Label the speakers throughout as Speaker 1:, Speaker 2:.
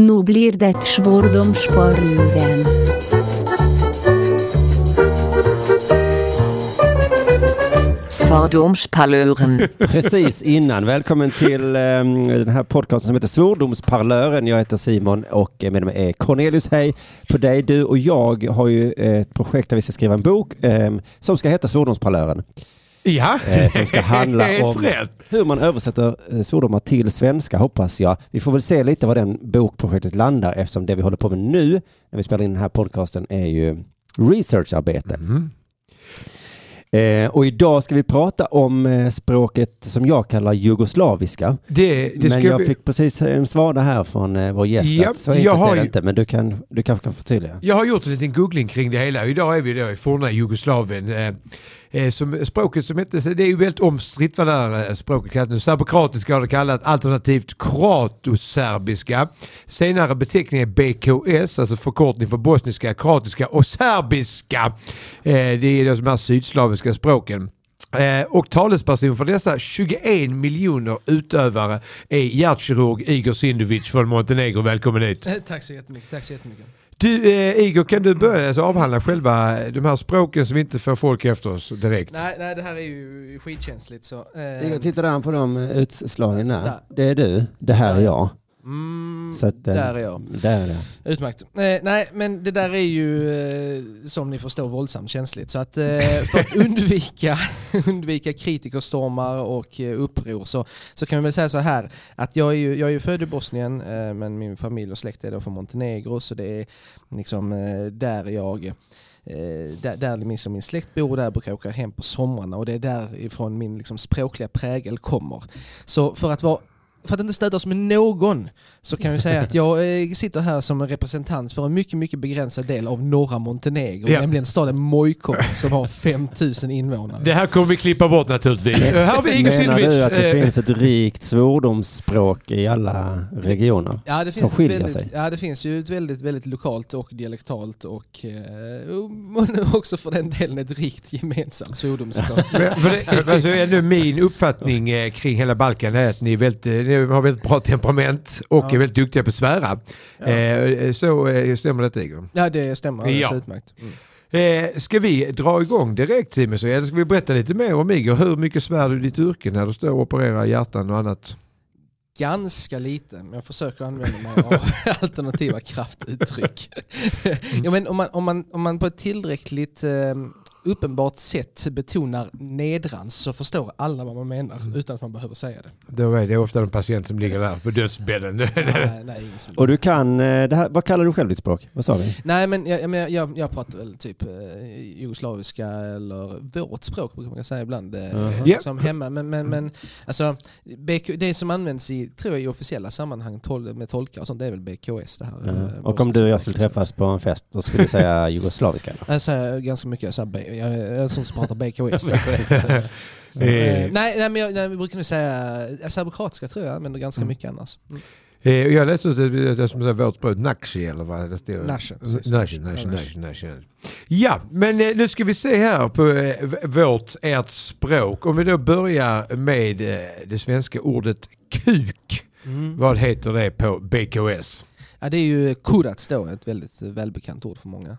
Speaker 1: Nu blir det svordomsparluren.
Speaker 2: Svordomspalören.
Speaker 3: Precis innan. Välkommen till eh, den här podcasten som heter Svordomsparlören. Jag heter Simon och eh, med mig är Cornelius. Hej på dig. Du och jag har ju eh, ett projekt där vi ska skriva en bok eh, som ska heta Svordomsparlören.
Speaker 4: Ja,
Speaker 3: Eh, som ska handla om
Speaker 4: rätt.
Speaker 3: hur man översätter eh, svordomar till svenska hoppas jag. Vi får väl se lite vad den bokprojektet landar eftersom det vi håller på med nu när vi spelar in den här podcasten är ju researcharbete.
Speaker 4: Mm.
Speaker 3: Eh, och idag ska vi prata om eh, språket som jag kallar jugoslaviska.
Speaker 4: Det, det
Speaker 3: men
Speaker 4: ska
Speaker 3: jag
Speaker 4: vi-
Speaker 3: fick precis en svada här från eh, vår gäst
Speaker 4: Japp,
Speaker 3: att så enkelt
Speaker 4: jag har
Speaker 3: är det
Speaker 4: ju-
Speaker 3: inte men du, kan, du kanske kan förtydliga.
Speaker 4: jag har gjort en liten googling kring det hela. Idag är vi då i forna Jugoslavien. Eh, eh, som, språket som hette, det är ju väldigt omstritt vad det här eh, språket kallas nu. Serbokroatiska har det kallat, alternativt kroatoserbiska. Senare beteckning är BKS, alltså förkortning för bosniska, kroatiska och serbiska. Eh, det är då de här sydslaviska språken. Eh, och talesperson för dessa 21 miljoner utövare är hjärtkirurg Igor Sindovic från Montenegro. Välkommen hit!
Speaker 5: Tack så jättemycket. Tack så jättemycket.
Speaker 4: Du, eh, Igor, kan du börja alltså, avhandla själva de här språken som inte får folk efter oss direkt?
Speaker 5: Nej, nej, det här är ju skitkänsligt så. eh,
Speaker 3: Jag tittar där på de eh, utslagen där.
Speaker 5: Där.
Speaker 3: Det är du, det här är jag.
Speaker 5: mm,
Speaker 3: Så att, eh,
Speaker 5: där är jag.
Speaker 3: Där är det.
Speaker 5: Utmärkt. Eh, nej, men det där är ju eh, som ni förstår våldsamt känsligt. Så att eh, för att undvika, undvika kritikerstormar och eh, uppror så, så kan vi väl säga så här att jag är ju, jag är ju född i Bosnien eh, men min familj och släkt är då från Montenegro så det är liksom eh, där jag Eh, där, där min, som min släkt bor, där brukar jag åka hem på somrarna och det är därifrån min liksom, språkliga prägel kommer. Så för att, vara, för att inte stöta oss med någon så kan vi säga att jag eh, sitter här som en representant för en mycket, mycket begränsad del av norra Montenegro,
Speaker 4: Ja.
Speaker 5: nämligen staden Mojkov som har 5000 invånare.
Speaker 4: Det här kommer vi klippa bort naturligtvis. Eh, här har vi Igor
Speaker 3: Menar
Speaker 4: Sindovic.
Speaker 3: du att det
Speaker 4: eh,
Speaker 3: finns ett rikt svordomsspråk i alla regioner?
Speaker 5: Ja, det
Speaker 3: som
Speaker 5: finns ett
Speaker 3: skiljer
Speaker 5: väldigt,
Speaker 3: sig.
Speaker 5: Ja, det finns ju ett väldigt, väldigt lokalt och dialektalt och, eh, och nu också för den delen ett rikt gemensamt svordomsspråk.
Speaker 4: Men- för det- alltså, ändå min uppfattning eh, kring hela Balkan är att ni, är väldigt, eh, ni har väldigt bra temperament och
Speaker 5: Ja.
Speaker 4: är väldigt duktiga på att svära.
Speaker 5: Ja.
Speaker 4: Eh, så eh, stämmer detta Igor.
Speaker 5: ja, det stämmer alldeles
Speaker 4: Ja.
Speaker 5: utmärkt. Mm.
Speaker 4: Eh, ska vi dra igång direkt Simon? Så, Eller ska vi berätta lite mer om Igor? Hur mycket svär du i ditt yrke när du står och opererar hjärtan och annat?
Speaker 5: Ganska lite, men jag försöker använda mig av alternativa kraftuttryck. ja, men om, man, om, man, om man på ett tillräckligt eh, uppenbart sätt betonar nedrans så förstår alla vad man menar utan att man behöver säga det.
Speaker 4: Då är det ofta de patienter som ligger där på dödsbädden.
Speaker 5: nej, nej, ingen som-
Speaker 3: Och du kan, eh, det här, vad kallar du själv ditt språk? Vad sa vi?
Speaker 5: Nej men jag, jag, men jag, jag pratar väl typ eh, jugoslaviska eller vårt språk brukar man säga ibland. eh,
Speaker 3: Jaha.
Speaker 5: Liksom hemma. Men, men, men alltså, BK, det som används i, tror jag, i officiella sammanhang tol, med tolkar och sånt det är väl BKS det här. eh,
Speaker 3: Och om du och jag skulle
Speaker 5: liksom.
Speaker 3: träffas på en fest, då skulle du säga jugoslaviska? Eller?
Speaker 5: Jag säger ganska mycket, jag, säger, B- jag är en sån som pratar BKS. Eh,
Speaker 4: Eh,
Speaker 5: nej, nej men jag, nej, vi brukar nu säga, eh, serbokroatiska tror jag jag använder ganska mycket annars. Mm.
Speaker 4: Eh, och jag läste ut att det som säger vårt språk, Naxi eller vad det står.
Speaker 5: Naxi, precis.
Speaker 4: Naxi, Naxi,
Speaker 5: Ja,
Speaker 4: Naxi,
Speaker 5: Naxi.
Speaker 4: Naxi. Ja, men eh, nu ska vi se här på eh, v- vårt, ert språk. Om vi då börjar med eh, det svenska ordet kuk.
Speaker 5: Mm.
Speaker 4: Vad heter det på BKS?
Speaker 5: Ja, det är ju kurats då, ett väldigt eh, välbekant ord för många.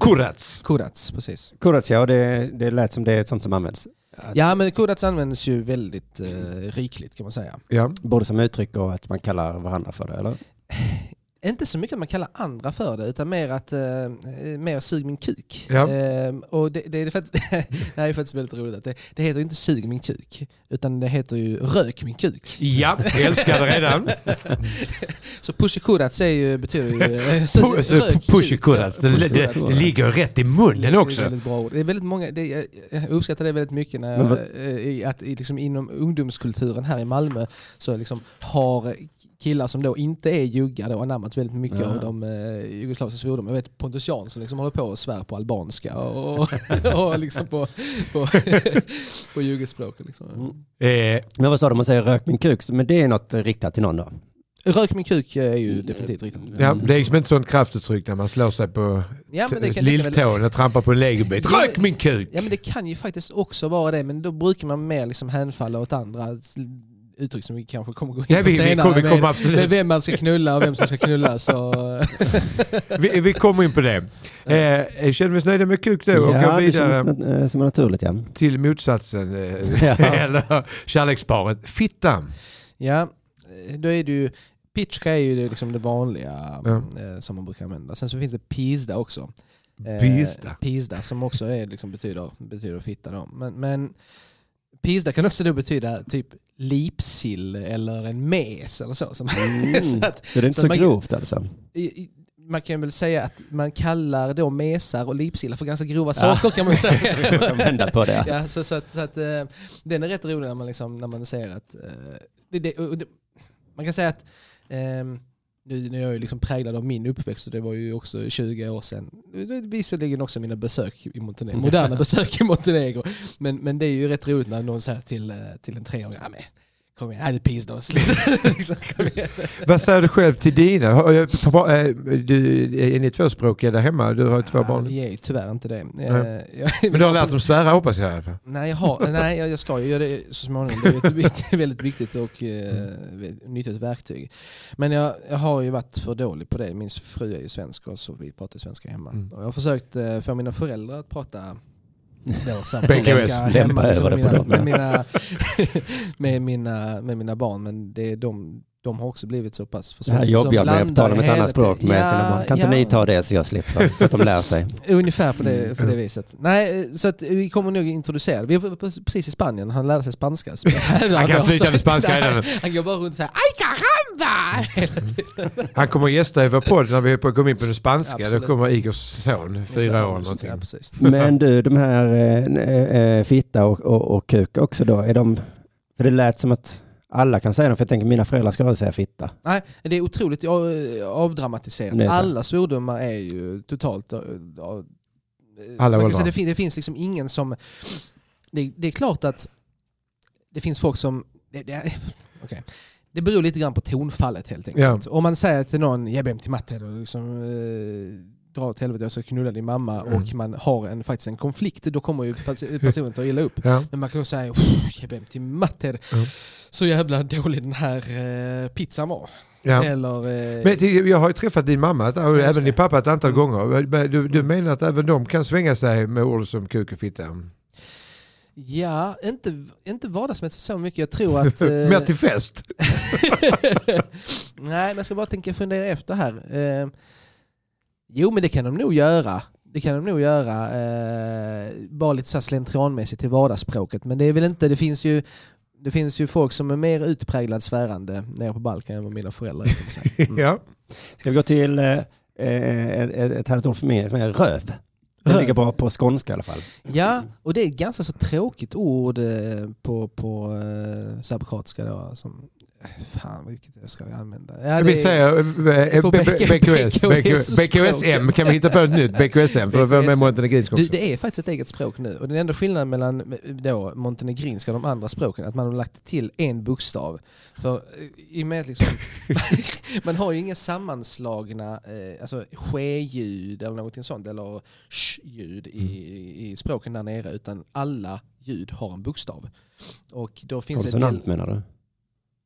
Speaker 4: Kurats.
Speaker 5: Kurats, precis.
Speaker 3: Kuratsia, ja, det, det lät som det är ett sånt som används.
Speaker 5: Ja men kodats används ju väldigt eh, rikligt kan man säga.
Speaker 4: Ja.
Speaker 3: Både som uttryck och att man kallar varandra för det, eller?
Speaker 5: Inte så mycket att man kallar andra för det utan mer att eh, eh, mer sug min kuk.
Speaker 4: Ja.
Speaker 5: Eh, och det, det, är faktiskt, det här är faktiskt väldigt roligt. att Det, det heter ju inte sug min kuk utan det heter ju rök min kuk.
Speaker 4: ja, jag älskar det redan.
Speaker 5: Så pushy kodats är ju, betyder ju eh, sug,
Speaker 4: Pu- så
Speaker 5: rök
Speaker 4: pu- Pushy
Speaker 5: kuk.
Speaker 4: kurats. Det,
Speaker 5: Pushy
Speaker 4: det,
Speaker 5: kurats.
Speaker 4: det ligger rätt i munnen
Speaker 5: Det är
Speaker 4: också.
Speaker 5: väldigt bra ord. Det är väldigt många, det, jag- jag uppskattar det väldigt mycket
Speaker 3: Men
Speaker 5: när jag,
Speaker 3: vad-
Speaker 5: eh, i- att i, liksom inom ungdomskulturen här i Malmö så liksom har killar som då inte är juggar då anammat väldigt mycket
Speaker 3: Ja.
Speaker 5: av de eh, jugoslaviska svordomarna. Jag vet Pontus Jansson liksom håller på och svär på albanska och, och liksom på, på, på juggespråket. Liksom.
Speaker 3: Mm.
Speaker 4: Eh,
Speaker 3: Men vad sa de, man säger rök min kuk, så- men det är något riktat till någon då?
Speaker 5: Rök min kuk är ju definitivt riktigt.
Speaker 4: ja, det är liksom inte sånt kraftuttryck när man slår sig på
Speaker 5: Ja, men det kan- det kan väl-
Speaker 4: Lilltån och trampar på en legobit.
Speaker 5: Ja,
Speaker 4: Rök min kuk!
Speaker 5: Ja men det kan ju faktiskt också vara det, men då brukar man mer liksom hänfalla åt andra s- uttryck som vi kanske kommer gå in på
Speaker 4: Ja, vi, vi,
Speaker 5: senare.
Speaker 4: kommer, vi, kommer
Speaker 5: med, med
Speaker 4: absolut,
Speaker 5: vem man ska knulla och vem som ska knulla. Så,
Speaker 4: vi, vi kommer in på det. Eh, jag känner vi oss nöjda med kuk då och
Speaker 3: ja,
Speaker 4: går
Speaker 3: det
Speaker 4: vidare
Speaker 3: känns som, eh, som naturligt ja.
Speaker 4: till motsatsen. Eh,
Speaker 3: Ja.
Speaker 4: Eller kärleksparet. Fittan.
Speaker 5: ja, då är det ju... Pitchka är ju det, liksom det vanliga
Speaker 4: Ja.
Speaker 5: eh, som man brukar använda. Sen så finns det pisda också. Eh,
Speaker 4: Pizda.
Speaker 5: Pisda som också är, liksom, betyder, betyder fitta då. Men, men pisda kan också då betyda typ lipsill eller en mes eller så. Som, så
Speaker 3: Mm.
Speaker 5: att,
Speaker 3: Så det är inte
Speaker 5: Så
Speaker 3: så,
Speaker 5: man-
Speaker 3: grovt alltså?
Speaker 5: i, i- man kan väl säga att man kallar då mesar och lipsillar för ganska grova
Speaker 3: Ja.
Speaker 5: saker kan man ju säga.
Speaker 3: Man kan vända på det.
Speaker 5: ja, så, så att, så att, eh, den är rätt rolig när man, liksom, när man säger att... eh, det, det, och det, man kan säga att... ehm, nu nu är jag ju liksom präglad av min uppväxt och det var ju också 20 år sedan. Det är Visserligen också mina besök i Montenegro, moderna besök i Montenegro. Men, men det är ju rätt roligt när någon säger till, eh, till en treåring, ja men kom igen, nej, det är pisdos. liksom, kom igen.
Speaker 4: Vad säger du själv till dina? Har- eh, pa- eh, Du, är ni tvåspråkiga där hemma? Du har två
Speaker 5: Ja,
Speaker 4: barn.
Speaker 5: vi är ju tyvärr inte det. Eh,
Speaker 4: Nej.
Speaker 5: jag-
Speaker 4: Men du har lärt dem svära hoppas jag i alla fall.
Speaker 5: Nej, jag, har, nej, jag jag ska ju göra det så småningom. Det är ju ett vikt- väldigt viktigt och
Speaker 3: Mm.
Speaker 5: eh, nyttigt verktyg. Men jag, jag har ju varit för dålig på det. Min fru är ju svensk och så vi pratar svenska hemma.
Speaker 4: Mm.
Speaker 5: Och jag har försökt eh, få mina föräldrar att prata då
Speaker 4: Bägge
Speaker 5: svenska
Speaker 4: väs-
Speaker 5: hemma
Speaker 3: lämpa
Speaker 5: liksom, med,
Speaker 3: över det
Speaker 5: mina,
Speaker 3: på
Speaker 5: med, mina, med, mina, med mina barn. Men det är de, de har också blivit så pass för
Speaker 3: Det här
Speaker 5: svenska så de
Speaker 3: jobbiga med att
Speaker 5: blandar
Speaker 3: tala med ett
Speaker 5: hela
Speaker 3: annat språk med
Speaker 5: tiden.
Speaker 3: sina barn. Kan inte
Speaker 5: ja.
Speaker 3: ni ta det så jag slipper? Så att de lär sig.
Speaker 5: Ungefär på det,
Speaker 4: Mm.
Speaker 5: på det viset. Nej, eh, så att vi kommer nog introducera. Vi var pre- precis i Spanien, han lärde sig spanska. han
Speaker 4: kan flytande spanska
Speaker 5: Nej,
Speaker 4: redan.
Speaker 5: Han går bara runt så här ”Ay caramba!”
Speaker 4: Han kommer att gästa i vår podd när vi är på- kommer in på den spanska.
Speaker 5: Absolut.
Speaker 4: Då kommer Igors son, fyra år eller
Speaker 5: Exakt,
Speaker 4: någonting.
Speaker 5: Ja, precis.
Speaker 3: Men du, de här eh, eh, fitta och, och, och kuk också då, är de... För det lät som att alla kan säga dem, för jag tänker mina föräldrar skulle aldrig säga fitta.
Speaker 5: Nej, det är otroligt eh, avdramatiserat.
Speaker 3: Det är så.
Speaker 5: Alla svordomar är ju totalt... eh, ja, eh,
Speaker 4: Alla
Speaker 5: man kan
Speaker 4: åldrar.
Speaker 5: säga, det, fin- det finns liksom ingen som... Det, det är klart att det finns folk som... Det, det, okej. det beror lite grann på tonfallet helt enkelt. Om man säger till någon “jag ber till matte” och liksom, eh, dra åt helvete jag ska knulla din mamma
Speaker 4: Mm.
Speaker 5: och man har en, faktiskt en konflikt, då kommer ju pers- personen ta illa upp.
Speaker 4: Ja.
Speaker 5: Men man kan också säga “jag ber till matte”.
Speaker 4: Mm.
Speaker 5: Så jävla dålig den här eh, pizzan var.
Speaker 4: Ja.
Speaker 5: Eller... eh,
Speaker 4: Men till- jag har ju träffat din mamma ett- och
Speaker 5: just
Speaker 4: även din
Speaker 5: det. Mm.
Speaker 4: pappa ett antal gånger. Men Du, du menar att även de kan svänga sig med ord som kuk och fitta?
Speaker 5: Eh, ja, inte, inte vardagsmässigt så mycket. Jag tror att... eh,
Speaker 4: Mer till fest?
Speaker 5: nej, men jag ska bara tänka fundera efter här. Eh, jo, men det kan de nog göra. Det kan de nog göra. Eh, bara lite så här slentrianmässigt i vardagsspråket. Men det är väl inte... Det finns ju... Det finns ju folk som är mer utpräglad svärande nere på Balkan än vad mina föräldrar är. kan man säga. Mm.
Speaker 4: Ja.
Speaker 3: Ska vi gå till eh, eh, ett, ett härligt ord för mig, för mig röv. Det
Speaker 5: Röv.
Speaker 3: ligger bra på skånska i alla fall.
Speaker 5: Ja, och det är ett ganska så tråkigt ord eh, på, på eh, serbokroatiska då. Som, fan, vilket jag ska använda? Ja,
Speaker 4: vi
Speaker 5: det är,
Speaker 4: säger eh, eh,
Speaker 5: på
Speaker 4: B-
Speaker 5: BK-
Speaker 4: BKS. BKS,
Speaker 5: BKS-språk.
Speaker 4: BKSM kan vi hitta på ett nytt. BKSM för att vara med
Speaker 5: BKSM.
Speaker 4: montenegrinska
Speaker 5: du,
Speaker 4: också.
Speaker 5: det är faktiskt ett eget språk nu. Och den enda skillnaden mellan eh, då, montenegrinska och de andra språken är att man har lagt till en bokstav. För eh, i och med att liksom, man har ju inga sammanslagna eh, alltså, ske-ljud eller någonting sånt, eller sh-ljud i,
Speaker 3: Mm.
Speaker 5: i språken där nere, utan alla ljud har en bokstav. Och då finns det en del
Speaker 3: Konsonant Ah. menar du?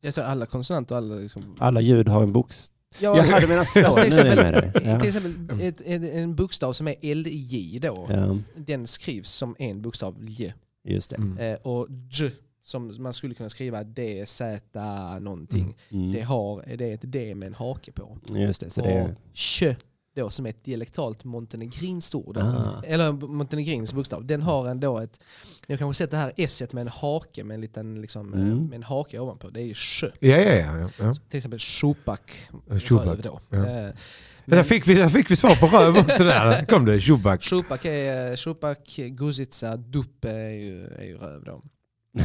Speaker 5: Alltså alla konsonanter och alla liksom...
Speaker 3: Alla ljud har en box.
Speaker 5: Ja,
Speaker 3: Jaha, du menar så. Nu
Speaker 5: Alltså, till
Speaker 3: är jag
Speaker 5: exempel-
Speaker 3: med dig.
Speaker 5: Till
Speaker 3: Ja.
Speaker 5: exempel ett, en, en bokstav som är LJ då,
Speaker 3: Ja,
Speaker 5: den skrivs som en bokstav J.
Speaker 3: just det.
Speaker 4: Mm.
Speaker 5: Eh, och J som man skulle kunna skriva D, Z, någonting. Det,
Speaker 3: Mm.
Speaker 5: har, det är ett D med en hake på.
Speaker 3: Just det, så
Speaker 5: och
Speaker 3: det är...
Speaker 5: Ch då som är ett dialektalt montenegrinskt ord.
Speaker 3: Ah.
Speaker 5: Eller en montenegrinsk bokstav. Den har ändå ett, ni har kanske sett det här S med en hake med en liten liksom, eh,
Speaker 3: Mm.
Speaker 5: med en hake ovanpå. Det är ch.
Speaker 4: Ja, ja, ja. ja, ja.
Speaker 5: Till exempel Schuback.
Speaker 4: Schuback,
Speaker 5: Röv då.
Speaker 4: ja.
Speaker 5: Eh,
Speaker 4: Där, fick vi, där fick vi svar på röv också där. Där kom det, Schuback.
Speaker 5: Shupak, är, eh, Shupak Guzica, Dupe är ju, är ju röv då.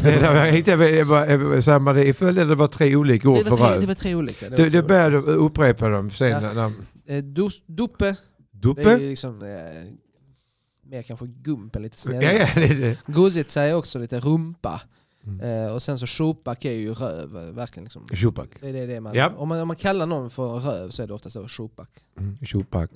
Speaker 4: Det där var- Jag hittade, jag bara- jag- så här, man, det i följd eller det var tre olika ord
Speaker 5: Det
Speaker 4: för
Speaker 5: var tre, det
Speaker 4: röv.
Speaker 5: var tre olika. Det var
Speaker 4: Du,
Speaker 5: tre
Speaker 4: du
Speaker 5: olika.
Speaker 4: började upprepa dem sen.
Speaker 5: Ja.
Speaker 4: när- när-
Speaker 5: Eh, dus- Dupe, det är
Speaker 4: Duppe?
Speaker 5: ju liksom eh, mer kanske gumpen, lite
Speaker 4: Ja,
Speaker 5: snällare.
Speaker 4: ja, det- det-
Speaker 5: Guzica är också lite rumpa.
Speaker 4: Mm.
Speaker 5: Eh, och sen så Shupak är ju röv, eh, verkligen. Liksom.
Speaker 4: Shupak.
Speaker 5: Det är det, det är man,
Speaker 4: Ja.
Speaker 5: om, man, om man kallar någon för röv så är det oftast så Shupak.
Speaker 4: Mm. Shupak.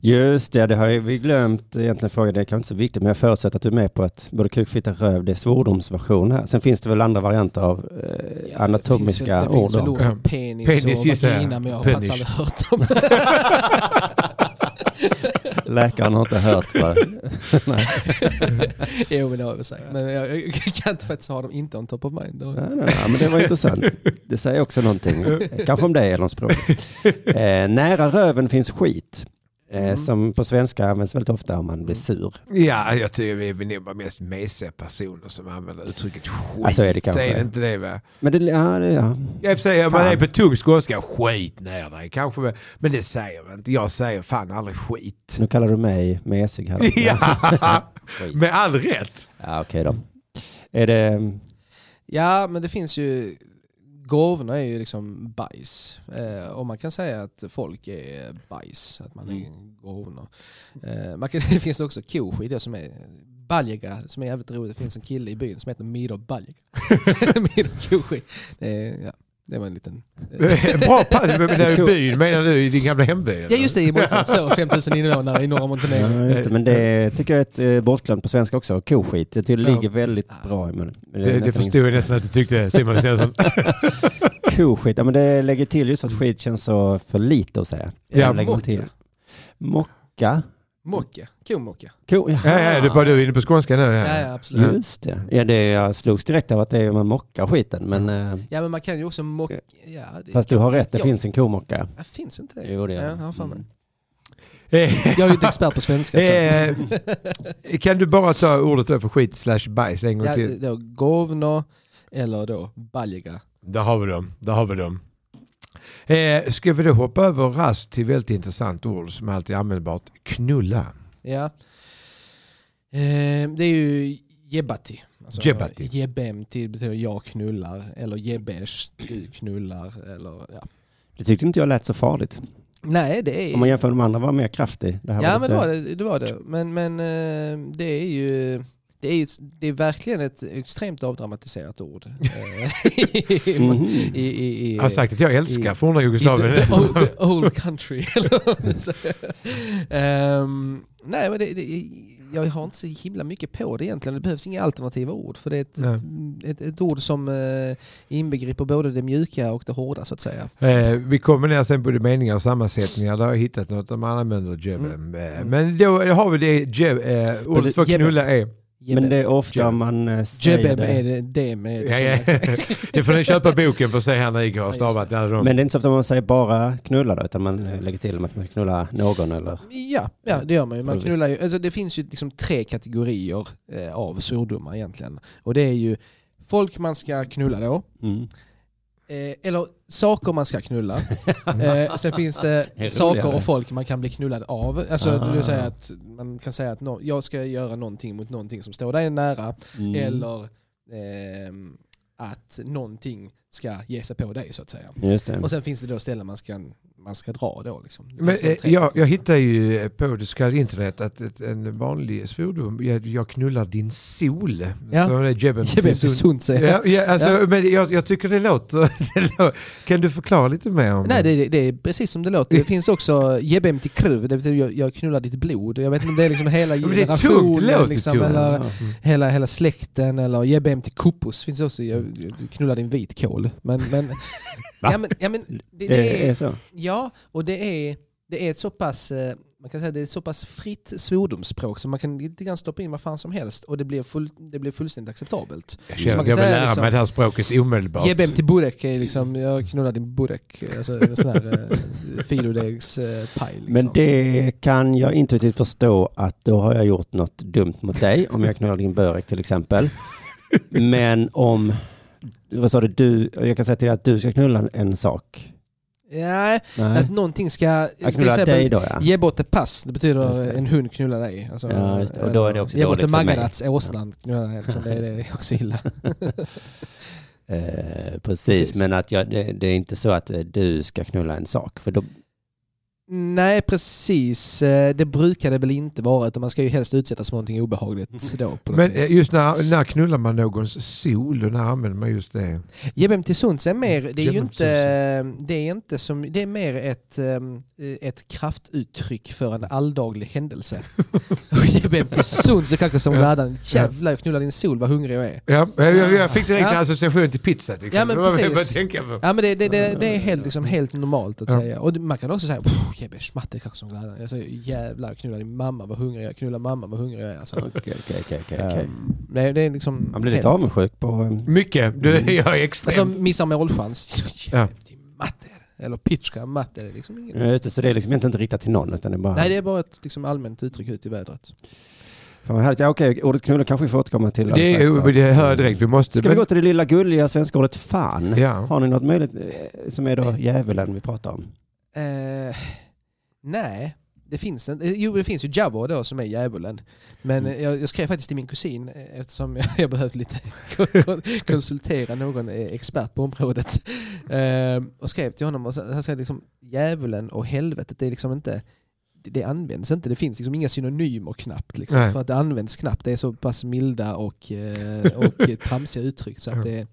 Speaker 3: Just det, det har jag- vi glömt egentligen fråga. Det är kanske inte så viktigt, men jag förutsätter att du är med på att både kuk, fitta, röv, det är svordomsversion här. Sen finns det väl andra varianter av eh, anatomiska
Speaker 5: det finns, väl-
Speaker 3: ord.
Speaker 5: Det finns väl ord
Speaker 4: Ja.
Speaker 5: för penis,
Speaker 4: Penis,
Speaker 5: och
Speaker 4: gissar jag.
Speaker 5: vagina men jag har
Speaker 4: Penis.
Speaker 5: faktiskt aldrig hört dem.
Speaker 3: Läkaren har inte hört vad
Speaker 5: jo men det har jag väl sagt. Men jag, jag kan inte faktiskt ha dem inte on top of mind.
Speaker 3: Nej, nej, nej, men det var intressant. Det säger också någonting. Kanske om dig eller om språket. Eh, nära röven finns skit. Eh,
Speaker 5: Mm.
Speaker 3: Som på svenska används väldigt ofta om man blir sur.
Speaker 4: Ja, jag tycker vi är nog bara mest mesiga personer som använder uttrycket skit.
Speaker 3: Ja, så Alltså, är det kanske.
Speaker 4: är det inte det va?
Speaker 3: Men det, ja, det, ja.
Speaker 4: Jag får säga, om man
Speaker 3: Fan.
Speaker 4: är på tung skånska, skit ner dig kanske. Men det säger man inte. Jag säger fan aldrig skit.
Speaker 3: Nu kallar du mig mesig här.
Speaker 4: Ja, med all rätt.
Speaker 3: ja okej då. Är det...
Speaker 5: Ja men det finns ju, gåvorna är ju liksom bajs. Eh, och man kan säga att folk är bajs, att man
Speaker 3: Mm.
Speaker 5: är gåvorna. Eh, man kan, det finns också koskit det som är Baljega, som är jävligt roligt. Det finns en kille i byn som heter Miro Baljega. Miro Koskit. Det är- Ja, det var en liten... eh.
Speaker 4: Bra pass. Men det är ju byn menar du, i din gamla hemby? eller?
Speaker 5: Ja just det, i Montenegro står 5000 invånare i norra Montenegro.
Speaker 3: Ja, just det, men det tycker jag är ett eh, bortglömt på svenska också. Koskit. Det tycker jag ligger väldigt bra i munnen. Men är
Speaker 4: Det, det
Speaker 3: nästan
Speaker 4: förstod jag nästan att du tyckte Simon Svensson.
Speaker 3: ingen- Koskit. Ja, men det lägger till just för att skit känns så för lite att säga.
Speaker 4: Ja,
Speaker 3: Det lägger man till. Mocka.
Speaker 5: Mocka, komocka.
Speaker 3: Ko, jaha.
Speaker 4: Ja, ja, det var du inne på skånska nu.
Speaker 5: Ja,
Speaker 4: Ja.
Speaker 5: ja, absolut.
Speaker 3: Just det. Ja, det jag slogs direkt av att det är man mockar skiten. Men eh,
Speaker 5: Ja men man kan ju också mocka... Ja, det,
Speaker 3: fast du har rätt, det
Speaker 5: Ja.
Speaker 3: finns en komocka.
Speaker 5: Ja, finns inte det?
Speaker 3: Jo, det gör
Speaker 5: ja,
Speaker 3: det.
Speaker 5: ja, fan.
Speaker 4: Eh,
Speaker 5: Jag är ju inte expert på svenska. Så.
Speaker 4: eh, Kan du bara ta ordet där för skit slash bajs en gång
Speaker 5: Ja,
Speaker 4: till?
Speaker 5: då govno eller då baljega.
Speaker 4: Där har vi dem, där har vi dem. Eh, ska vi då hoppa över raskt till väldigt intressant ord som alltid är användbart, knulla.
Speaker 5: Ja. Eh, det är ju jebati. Alltså,
Speaker 4: Jebbati.
Speaker 5: Jebem till betyder jag knullar eller jebesh, du knullar. Eller, ja.
Speaker 3: Det tyckte inte jag lät så farligt.
Speaker 5: Nej det är...
Speaker 3: Om man jämför med de andra var mer kraftig. Det här
Speaker 5: Ja
Speaker 3: var
Speaker 5: men
Speaker 3: lite,
Speaker 5: det var det, det var det. Men, men eh, det är ju det är, ju, det är verkligen ett extremt avdramatiserat ord. Eh, i,
Speaker 3: Mhm.
Speaker 5: i, i, i,
Speaker 4: Jag har sagt att jag älskar
Speaker 5: i-
Speaker 4: forna
Speaker 5: i the,
Speaker 4: Jugoslavien.
Speaker 5: the, old, the old country. eller vad man säger. Ehm, nej men det, det, jag har inte så himla mycket på det egentligen. Det behövs inga alternativa ord. För det är ett, ett, ett ord som eh, inbegriper både det mjuka och det hårda så att säga.
Speaker 4: Eh, vi kombinerar sen både meningar och sammansättningar. Där har jag hittat något om man använder jebben. Eh, men då har vi det jeb, eh, ordet
Speaker 3: Precis,
Speaker 4: för
Speaker 5: jebben.
Speaker 4: knulla är.
Speaker 3: men det är ofta
Speaker 4: Jebem.
Speaker 3: man eh, säger
Speaker 5: Jebem är
Speaker 3: det.
Speaker 5: det, det med.
Speaker 4: Ja, ja. Det får ni köpa boken för att se här när Iker har
Speaker 5: Ja, just
Speaker 4: stavat alla de.
Speaker 3: Men det är inte så ofta man säger bara knulla då, utan man eh, lägger till att man knulla någon eller...
Speaker 5: Ja, ja, det gör man ju. Man
Speaker 3: Förvisso.
Speaker 5: knullar ju. Alltså, det finns ju liksom tre kategorier eh, av svordomar egentligen. Och det är ju folk man ska knulla då,
Speaker 3: Mm.
Speaker 5: eh, eller saker man ska knulla. eh, sen finns det
Speaker 3: Det är
Speaker 5: saker
Speaker 3: roligare.
Speaker 5: och folk man kan bli knullad av. Alltså,
Speaker 3: Ah.
Speaker 5: det vill säga att man kan säga att nå- jag ska göra någonting mot någonting som står dig nära,
Speaker 3: Mm.
Speaker 5: eller ehm, att någonting ska ge sig på dig så att säga.
Speaker 3: Just det.
Speaker 5: Och sen finns det då ställen man ska, man ska dra då. Liksom. Det
Speaker 4: Men,
Speaker 5: finns de
Speaker 4: eh,
Speaker 5: tre
Speaker 4: jag,
Speaker 5: kategorier.
Speaker 4: jag hittar ju eh, på det så kallade internet att ett, en vanlig svordom, jag, jag knullar din sol.
Speaker 5: Ja.
Speaker 4: Så det är jebben
Speaker 5: jag vet inte,
Speaker 4: till sol.
Speaker 5: sunt säger jag.
Speaker 4: Ja, ja, alltså,
Speaker 5: Ja.
Speaker 4: Men jag, jag tycker det låter, det låter... Kan du förklara lite mer om
Speaker 5: Nej, det, det är precis som det låter. Det finns också Jebem till kruv, det betyder jag, jag knullar ditt blod. Jag vet inte om det är liksom hela
Speaker 4: men det är tungt,
Speaker 5: generationen
Speaker 4: det låter
Speaker 5: liksom,
Speaker 4: tungt.
Speaker 5: eller
Speaker 3: Ja.
Speaker 5: hela, hela släkten eller Jebem till kopos finns också. Jag, jag knullar din vitkål. Men, men, ja, men, ja, men det,
Speaker 3: Det är
Speaker 5: det liksom. är,
Speaker 3: Eh, så.
Speaker 5: ja, och det är, det är ett så pass eh, man kan säga att det är ett så pass fritt svordomsspråk så man kan lite grann stoppa in vad fan som helst och det blir, full, det blir fullständigt acceptabelt.
Speaker 4: Jag,
Speaker 5: Så
Speaker 4: känner,
Speaker 5: man
Speaker 4: att
Speaker 5: kan
Speaker 4: jag vill
Speaker 5: säga
Speaker 4: lära
Speaker 5: liksom-
Speaker 4: mig det här språket omedelbart.
Speaker 5: Jebem till burek är liksom, jag knullar din burek. Alltså en sån här eh, filodegspaj. Liksom.
Speaker 3: Men det kan jag intuitivt förstå att då har jag gjort något dumt mot dig, om jag knullar din börek till exempel. Men om, vad sa du, du, jag kan säga till dig att du ska knulla en sak.
Speaker 5: Nej,
Speaker 3: Nej,
Speaker 5: att någonting ska...
Speaker 3: jag knullar dig då ja.
Speaker 5: Ge bort ett pass, det betyder
Speaker 3: Just det.
Speaker 5: en hund knullar dig. Alltså,
Speaker 3: Ja, just det. Och då är det också
Speaker 5: Ge bort
Speaker 3: dåligt
Speaker 5: en
Speaker 3: för mig.
Speaker 5: Magarats åsnan knullar dig. Liksom. Det, är- det är också illa.
Speaker 3: Eh, precis,
Speaker 5: Precis.
Speaker 3: eh, men att jag, det, det är inte så att eh, du ska knulla en sak, för då,
Speaker 5: Nej, precis. Eh, Det brukar det väl inte vara, utan man ska ju helst utsättas för någonting
Speaker 3: Mm.
Speaker 5: obehagligt då. På något
Speaker 4: Men
Speaker 5: vis.
Speaker 4: eh, just när, när knullar man någons sol och när använder man just det?
Speaker 5: Jebem Tsuntse är mer, det är ju
Speaker 4: Jebem
Speaker 5: inte, det är inte som, det är mer ett, ehm, ett kraftuttryck för en alldaglig händelse. Och Jebem Tsuntse kanske som
Speaker 4: Ja.
Speaker 5: världen, jävlar jag knullar din sol vad hungrig jag är.
Speaker 4: Ja, jag, jag- jag fick direkt
Speaker 5: Ja.
Speaker 4: en association till pizza. Till exempel.
Speaker 5: Ja, men
Speaker 4: Det var vad jag
Speaker 5: precis.
Speaker 4: började tänka på.
Speaker 5: Ja men det, det, det, det är helt, liksom, helt normalt att
Speaker 4: Ja.
Speaker 5: säga. Och det- man kan också säga Jebem Schmatte kanske som glädjen. Jag säger jävlar jag knullar din mamma vad hungrig jag är, knullar mamma vad hungrig jag är. Alltså,
Speaker 3: Okej, okej, okej, okej, okej.
Speaker 5: ehm, det, det är liksom
Speaker 3: Han blir lite
Speaker 5: helt-
Speaker 3: avundsjuk på... eh,
Speaker 4: Mycket. Du, jag är
Speaker 5: Alltså
Speaker 4: extremt...
Speaker 5: missar målchans,
Speaker 4: Ja.
Speaker 5: Jebem till matte. Eller pitchka matte, det är liksom inget.
Speaker 3: Ja, just det, så det är liksom egentligen inte riktat till någon utan det är bara...
Speaker 5: Nej, det är bara ett liksom, allmänt uttryck ut i vädret.
Speaker 3: Fan, vad härligt. Ja, okej, ordet knulla kanske vi får återkomma till
Speaker 4: det,
Speaker 3: alldeles strax,
Speaker 4: är,
Speaker 3: då.
Speaker 4: det hör jag direkt. Vi måste...
Speaker 3: Ska vi gå till det lilla gulliga svenska ordet fan?
Speaker 4: Ja.
Speaker 3: Har ni något möjligt eh, som är då djävulen vi pratar om?
Speaker 5: Eh, nej, det finns inte. Jo, det finns ju Jabba då som är djävulen. Men eh, jag, jag skrev faktiskt till min kusin eh, eftersom jag, jag behövde lite kon- konsultera någon eh, expert på området. Eh, och skrev till honom och så- han sa liksom djävulen och helvetet, det är liksom inte det- det används inte, det finns liksom inga synonymer knappt. Liksom,
Speaker 4: Nej.
Speaker 5: för att det används knappt, det är så pass milda och, eh, och eh, tramsiga uttryck. Så att det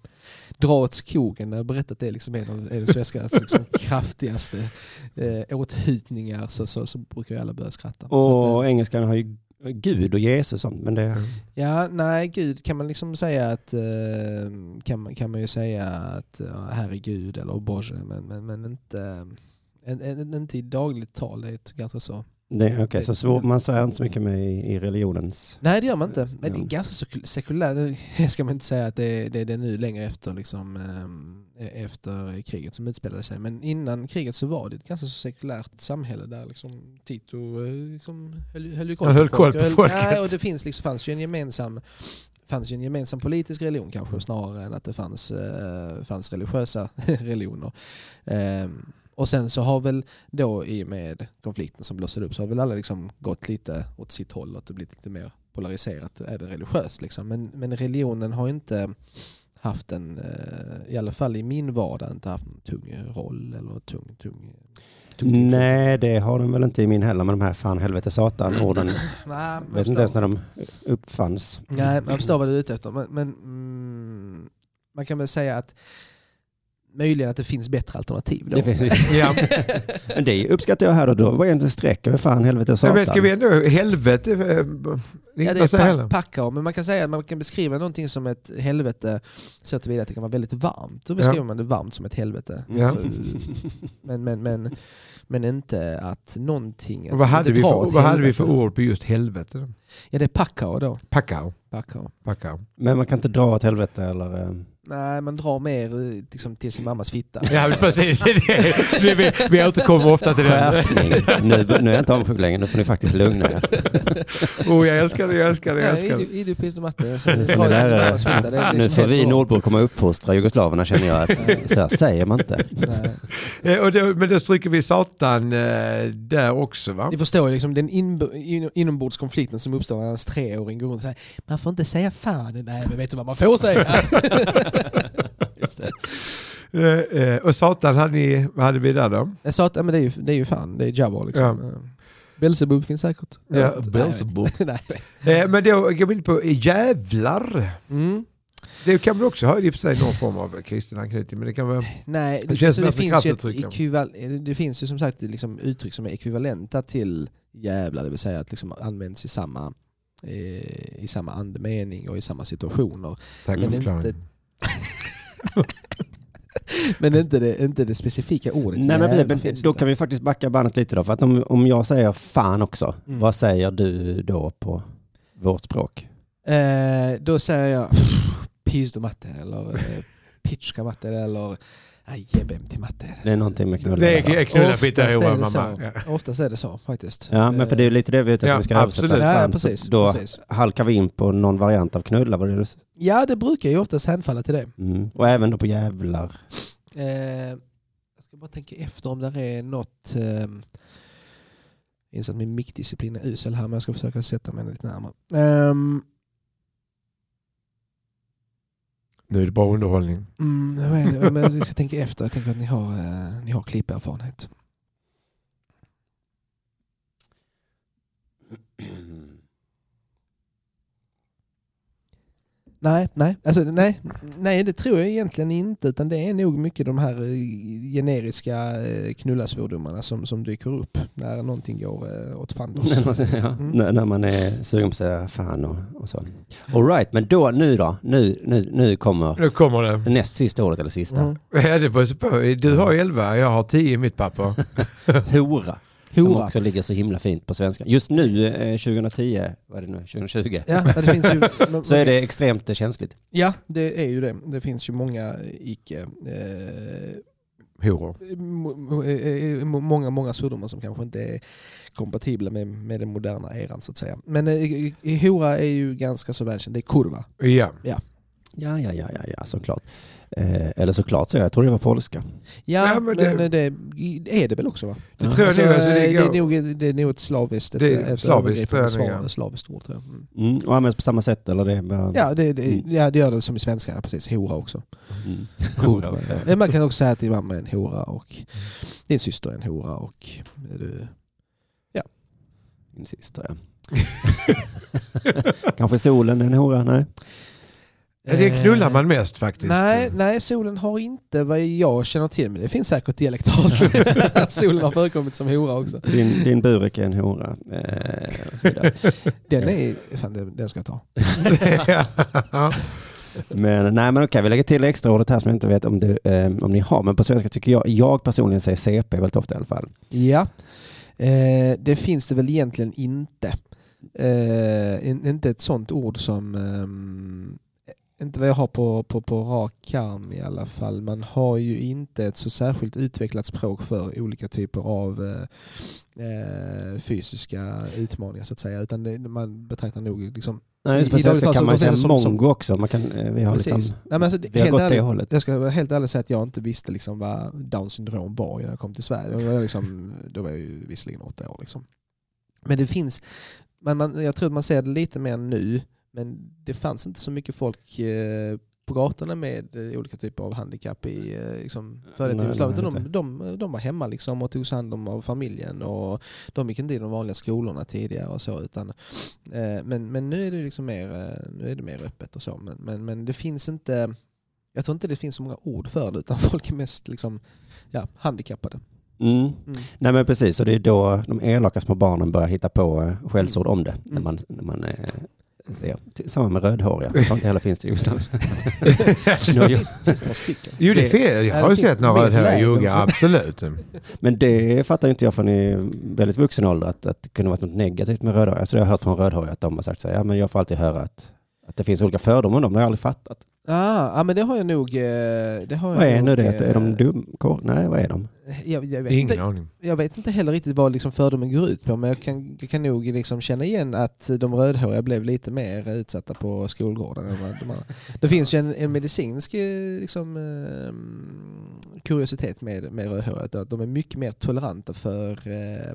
Speaker 5: dra åt skogen, jag har berättat att det är liksom en av en svenskarnas liksom kraftigaste eh, åthutningar så, så, så brukar ju alla börja skratta. Så att,
Speaker 3: Och engelskan har ju Gud och Jesus och sånt, men det...
Speaker 5: eh, ja, nej, Gud kan man liksom säga att eh, kan, man, kan man ju säga att ja, herre Gud eller Bože, men, men, men inte, en, en, en, inte i dagligt tal. Det är ett ganska så.
Speaker 3: det Okej, så svår, man svär inte så mycket med i, i religionens...
Speaker 5: Nej, det gör man
Speaker 4: Mm.
Speaker 5: inte. Men det är
Speaker 3: Ja.
Speaker 5: ganska sekul- sekulärt. Nu Ska man inte säga att det är det, är det nu längre efter, liksom, eh, efter kriget som utspelade sig. Men innan kriget så var det ett ganska så sekulärt samhälle där liksom Tito eh, liksom höll, höll ju koll,
Speaker 4: Han höll koll på
Speaker 5: Och höll-
Speaker 4: folket.
Speaker 5: Nej, och det finns liksom, fanns ju en gemensam fanns ju en gemensam politisk religion kanske snarare än att det fanns, eh, fanns religiösa religioner. Ehm, och sen så har väl då i och med konflikten som blossade upp så har väl alla liksom gått lite åt sitt håll och det blivit lite mer polariserat även religiöst. Liksom. Men, men religionen har inte haft en, eh, i alla fall i min vardag, inte haft en tung roll eller tung, tung, tung tung-
Speaker 3: Nej, det har de väl inte i min heller med de här fan, helvete, satan orden.
Speaker 5: Nej, jag
Speaker 3: vet inte
Speaker 5: förstår.
Speaker 3: ens när de uppfanns.
Speaker 5: Nej, jag förstår vad du är ute efter. Men, men mm, man kan väl säga att möjligen att det finns bättre alternativ då.
Speaker 3: Det finns,
Speaker 4: Ja.
Speaker 3: men det uppskattar jag här och då. Vad är det streck över fan, helvete och
Speaker 4: Ja,
Speaker 3: satan?
Speaker 4: men ska vi ändå... Helvete. eh, Det är
Speaker 5: Ja,
Speaker 4: inte
Speaker 5: det är
Speaker 4: att säga heller.
Speaker 5: pa- packar, men man kan säga att man kan beskriva någonting som ett helvete så att att det kan vara väldigt varmt. Då beskriver man det varmt som ett helvete.
Speaker 4: Ja.
Speaker 3: Mm.
Speaker 5: Men, men, men, men inte att någonting... Att
Speaker 4: Och Vad, hade
Speaker 5: inte
Speaker 4: vi,
Speaker 5: dra
Speaker 4: för,
Speaker 5: åt
Speaker 4: vad hade vi för
Speaker 5: helvete.
Speaker 4: ord på just helvete? då?
Speaker 5: Ja, det är packar då.
Speaker 4: Packao.
Speaker 5: Packar.
Speaker 4: Packao.
Speaker 3: Men man kan inte dra åt helvete eller... eh,
Speaker 5: Nej, man drar mer eh, liksom, till sin mammas fitta.
Speaker 4: Ja, men precis. Det- det- vi, vi återkommer ofta till det.
Speaker 3: Skärpning. Nu, nu är jag inte avundsjuk längre, nu får ni faktiskt lugna er.
Speaker 4: Oh, jag älskar det, jag älskar det, jag
Speaker 5: Nej,
Speaker 4: älskar
Speaker 5: är
Speaker 4: det.
Speaker 5: du- är du pist och matte? Jag
Speaker 3: Nu
Speaker 5: säger,
Speaker 3: får,
Speaker 5: dra
Speaker 3: ni
Speaker 5: till din
Speaker 3: lära
Speaker 5: mammas fitta. Det är
Speaker 3: er.
Speaker 5: liksom
Speaker 3: nu får
Speaker 5: helt
Speaker 3: vi
Speaker 5: bra.
Speaker 3: nordbor komma och uppfostra jugoslaverna känner jag. Att,
Speaker 5: Nej.
Speaker 3: så här säger man inte.
Speaker 5: Nej.
Speaker 4: Eh, Och då, men då stryker vi satan eh, där också va?
Speaker 5: Ni förstår ju liksom den inb- in- inombordskonflikten som uppstår när ens treåring går runt och säger Man får inte säga fan, nej men vet du vad man får säga?
Speaker 4: Eh, eh, Och satan hade, ni, vad hade vi där då?
Speaker 5: Jag sa att ja, men det, är ju, det är ju fan, det är Jabba liksom. Ja. Belzebub finns säkert.
Speaker 4: Ja,
Speaker 5: Jag vet inte.
Speaker 4: Beelzebub.
Speaker 5: nej.
Speaker 4: Eh, Men då går vi in på eh, jävlar.
Speaker 5: Mm.
Speaker 4: Det kan väl också ha i och för sig någon form av kristen anknytning. Men det kan vara...
Speaker 5: nej,
Speaker 4: Det
Speaker 5: det,
Speaker 4: känns
Speaker 5: alltså,
Speaker 4: mer
Speaker 5: det,
Speaker 4: som ett
Speaker 5: finns ju ett
Speaker 4: kraftuttryck, ja.
Speaker 5: ekvival- eh, det finns ju som sagt liksom uttryck som är ekvivalenta till jävlar, det vill säga att liksom används i samma, eh, i samma andemening och i samma situationer.
Speaker 4: Tack för
Speaker 5: Men inte,
Speaker 4: förklaringen.
Speaker 5: men inte, det, inte det specifika ordet
Speaker 3: Nej, men,
Speaker 5: jävlar
Speaker 3: men
Speaker 5: finns
Speaker 3: då
Speaker 5: inte.
Speaker 3: kan vi faktiskt backa bandet lite då. För att om, om jag säger fan också,
Speaker 5: Mm.
Speaker 3: vad säger du då på vårt språk?
Speaker 5: Eh, då säger jag pizdomatte eller eh, pitchkamatte eller jebem till matte.
Speaker 3: Det är någonting med knulla.
Speaker 4: Det
Speaker 3: där.
Speaker 4: är knulla fitta
Speaker 5: Oftast
Speaker 4: i
Speaker 5: är det
Speaker 4: mamma.
Speaker 5: så.
Speaker 4: Ja.
Speaker 5: Oftast är det så faktiskt. Eh,
Speaker 3: Ja, men för det är lite det vi är ute efter.
Speaker 4: Ja,
Speaker 3: vi ska översätta
Speaker 4: absolut.
Speaker 5: Ja,
Speaker 3: fan,
Speaker 5: ja,
Speaker 3: så
Speaker 5: precis,
Speaker 3: Då
Speaker 5: precis.
Speaker 3: halkar vi in på någon variant av knulla. Vad det är du...
Speaker 5: Ja, det brukar ju oftast hänfalla till det.
Speaker 3: mm. Och även då på jävlar.
Speaker 5: Eh, jag ska bara tänka efter om där är något... Eh, jag inser att min mickdisciplin är usel här, men jag ska försöka sätta mig lite närmare. Ehm,
Speaker 4: Nu är det bara underhållning.
Speaker 5: mm, vad är det? Men jag ska tänka efter. Jag tänker att ni har, eh, ni har klipperfarenhet. Nej, nej, alltså, nej, nej, det tror jag egentligen inte. Utan det är nog mycket de här eh, generiska eh, knullasvordomarna som, som dyker upp när någonting går eh, åt fanders.
Speaker 3: När man- ja, när- När man är sugen på sig fan och, och så. All right, men då, nu då? Nu, nu, nu kommer
Speaker 4: Nu kommer det.
Speaker 3: näst sista ordet eller sista.
Speaker 5: Mm.
Speaker 4: Ja, det beror på. Du har 11, jag har 10 i mitt papper.
Speaker 3: Hora. Som
Speaker 5: Hora.
Speaker 3: också ligger så himla fint på svenska. Just nu, eh, 2010, vad är det nu, 2020,
Speaker 5: Ja, men det finns ju, men-
Speaker 3: så är det extremt eh, känsligt.
Speaker 5: Ja, det är ju det. Det finns ju många icke... Eh,
Speaker 4: Horor.
Speaker 5: mo- eh, eh, många, många svordomar som kanske inte är kompatibla med, med den moderna eran så att säga. Men eh, eh, hora är ju ganska så välkänd. Det är kurva.
Speaker 4: Ja.
Speaker 3: Ja, ja, ja, ja, ja såklart. Eh, eller såklart, så jag, jag tror det var polska.
Speaker 5: Ja,
Speaker 4: Ja, men
Speaker 5: men, eh,
Speaker 4: det-
Speaker 5: det... det är det väl också va?
Speaker 4: Det tror jag
Speaker 5: Alltså,
Speaker 4: nog. Alltså,
Speaker 5: det,
Speaker 4: det
Speaker 5: är
Speaker 4: går.
Speaker 5: nog, det är nog ett slaviskt, ett,
Speaker 4: Det är
Speaker 5: ett
Speaker 4: slaviskt,
Speaker 5: övergripande
Speaker 4: tror jag nog,
Speaker 5: svar-
Speaker 4: ja.
Speaker 5: slaviskt ord. Tror jag. Mm.
Speaker 3: Mm, och används på samma sätt eller det är bara...
Speaker 5: Ja, det, det,
Speaker 3: Mm.
Speaker 5: ja, det gör det som i svenska, ja, precis. Hora också.
Speaker 3: Mm.
Speaker 5: Hora, ja. Man kan också säga att din mamma är en hora och din syster är en hora och är du...
Speaker 3: Min syster, ja. Kanske solen är en hora, nej.
Speaker 4: Ja, Det knullar man mest faktiskt.
Speaker 5: eh, Nej, nej, solen har inte vad jag känner till, men det finns säkert dialektalt att solen har förekommit som hora också.
Speaker 3: Din, din burek är en hora. Eh, och så vidare.
Speaker 5: Den, är, fan, den, den ska jag ta.
Speaker 4: Ja.
Speaker 3: Men, nej men okej, vi lägger till extra ordet här som jag inte vet om, du, eh, om ni har. Men på svenska tycker jag, jag personligen säger CP väldigt ofta i alla fall.
Speaker 5: Ja, eh, det finns det väl egentligen inte. Eh, in, inte ett sånt ord som... ehm, inte vad jag har på, på, på rak arm i alla fall. Man har ju inte ett så särskilt utvecklat språk för olika typer av eh, eh, fysiska utmaningar så att säga. Utan det, man betraktar nog liksom...
Speaker 3: Nej, just på
Speaker 5: I- i dagligt
Speaker 3: svenska
Speaker 5: tal
Speaker 3: kan man ju
Speaker 5: så går
Speaker 3: säga
Speaker 5: det som- som-
Speaker 3: mongo också. Man kan, eh, vi har, liksom,
Speaker 5: precis. Nej, men alltså, det-
Speaker 3: vi har
Speaker 5: helt
Speaker 3: gått det
Speaker 5: ärligt,
Speaker 3: hållet.
Speaker 5: jag ska vara helt ärlig och säga att jag inte visste liksom vad down syndrom var innan jag kom till Sverige. Då var jag, liksom, då var jag ju visserligen åtta år. Liksom. Men det finns, men man, jag tror att man ser det lite mer nu, men det fanns inte så mycket folk eh, på gatorna med eh, olika typer av handikapp i eh, liksom, före detta
Speaker 3: Nej,
Speaker 5: Jugoslavien.
Speaker 3: nej,
Speaker 5: utan De, de, de var hemma liksom och togs hand om av familjen och de gick inte i de vanliga skolorna tidigare och så. Utan, eh, men, men nu är det liksom mer, eh, nu är det mer öppet och så. Men, men, men det finns inte, jag tror inte det finns så många ord för det utan folk är mest liksom, ja, handikappade.
Speaker 3: Mm.
Speaker 5: Mm.
Speaker 3: Nej men precis, och det är då de elaka små barnen börjar hitta på eh, skällsord om det.
Speaker 5: Mm.
Speaker 3: När man, när man eh, ser. T- Samma med rödhåriga, jag tror inte heller finns det i Jugoslavien.
Speaker 5: Det finns, finns några stycken.
Speaker 4: Jo, det är fel. Jag
Speaker 5: Ja,
Speaker 4: har ju
Speaker 5: det finns
Speaker 4: sett några
Speaker 5: mer
Speaker 4: av det här
Speaker 5: lägen.
Speaker 4: yoga, absolut.
Speaker 3: Men det fattar ju inte jag förrän i väldigt vuxen ålder, att, att det kunde varit något negativt med rödhåriga. Alltså jag har hört från rödhåriga att de har sagt så här, ja men jag får alltid höra att, att det finns olika fördomar om dem, det har jag aldrig fattat.
Speaker 5: Ah, ja, men det har jag nog... eh, Det har jag
Speaker 3: Vad är
Speaker 5: nog,
Speaker 3: nu det?
Speaker 5: eh,
Speaker 3: Är de dumkor? Nej, vad är de?
Speaker 5: Jag, jag, vet
Speaker 4: Ingen
Speaker 5: inte,
Speaker 4: aning.
Speaker 5: jag vet inte heller riktigt vad liksom fördomen går ut på, men jag kan, jag kan nog liksom känna igen att de rödhåriga blev lite mer utsatta på skolgården. Än vad de andra. Det finns ju en, en medicinsk eh, liksom, eh, kuriositet med, med rödhåriga, att de är mycket mer toleranta för, eh,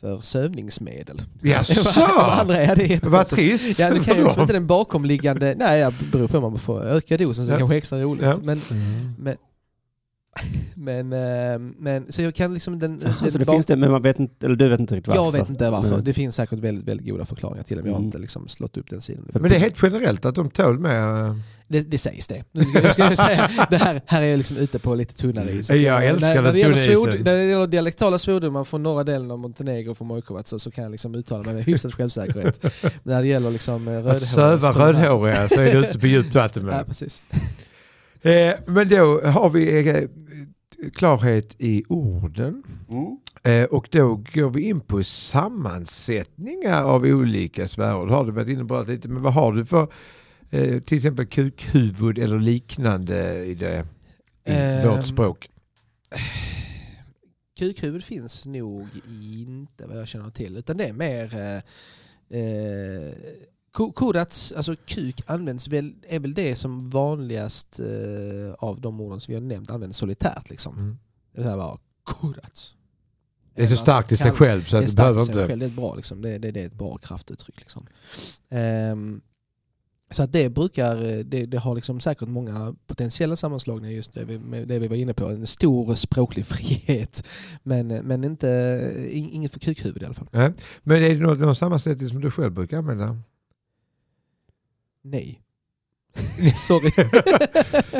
Speaker 5: för sövningsmedel.
Speaker 4: Jaså?
Speaker 5: Vad andra är, det är
Speaker 4: Vad
Speaker 5: jättekonstigt.
Speaker 4: trist.
Speaker 5: Ja, du kan ju liksom
Speaker 4: för
Speaker 5: inte
Speaker 4: dem.
Speaker 5: den bakomliggande... Nej, jag beror på om man får öka dosen så det
Speaker 4: Ja.
Speaker 5: kanske är extra roligt.
Speaker 4: Ja.
Speaker 5: Men,
Speaker 4: Mm.
Speaker 5: men, men, eh, men, så jag kan liksom den...
Speaker 3: Jaha,
Speaker 5: den
Speaker 3: så Alltså, det
Speaker 5: bak-
Speaker 3: finns det, men man vet inte, eller du vet inte riktigt varför? Mm.
Speaker 5: jag vet inte varför.
Speaker 3: Nej.
Speaker 5: Det finns säkert väldigt, väldigt goda förklaringar till det, men jag har
Speaker 3: Mm.
Speaker 5: inte liksom slått upp den sidan.
Speaker 4: Men det är helt generellt att de tål mer. eh,
Speaker 5: Det, det sägs det. Nu ska jag, ska jag säga, det här, här är jag liksom ute på lite tunnare is.
Speaker 4: Jag älskar
Speaker 5: när,
Speaker 4: den
Speaker 5: när det gäller
Speaker 4: tunna isen.
Speaker 5: svord- När det gäller dialektala svordomar från norra delen av Montenegro och från Mojkovac så, så kan jag liksom uttala mig med hyfsad självsäkerhet. Men när det gäller liksom eh, rödhåriga...
Speaker 4: Att söva
Speaker 5: så tror jag-
Speaker 4: rödhåriga så är det ute på djupt vatten.
Speaker 5: Ja,
Speaker 4: Med.
Speaker 5: precis.
Speaker 4: Eh, men då har vi eh, klarhet i orden.
Speaker 3: Mm.
Speaker 4: Eh, och då går vi in på sammansättningar av olika svärord. Har du varit inne på det lite, men vad har du för eh, till exempel kukhuvud eller liknande i, det, i
Speaker 5: Ehm.
Speaker 4: vårt språk?
Speaker 5: Kukhuvud finns nog inte vad jag känner till. Utan det är mer... Eh, eh, ko- kodats, alltså kuk används väl, är väl det som vanligast eh, av de orden som vi har nämnt används solitärt. Liksom.
Speaker 4: Mm.
Speaker 5: Det är så här bara, kodats.
Speaker 4: Det är så
Speaker 5: Eller-
Speaker 4: starkt i sig
Speaker 5: Kan-
Speaker 4: själv så
Speaker 5: det är
Speaker 4: att du
Speaker 5: starkt i
Speaker 4: behöver
Speaker 5: sig
Speaker 4: inte...
Speaker 5: själv. Det är ett bra, liksom. det, det, det är ett bra kraftuttryck. Liksom. Ehm, så att det brukar, det, det har liksom säkert många potentiella sammanslagningar just det vi, med det vi var inne på. En stor språklig frihet. Men, men inte, in- inget för kukhuvud i alla fall.
Speaker 4: Men är det någon, någon sammansättning som du själv brukar använda?
Speaker 5: Nej. Sorry.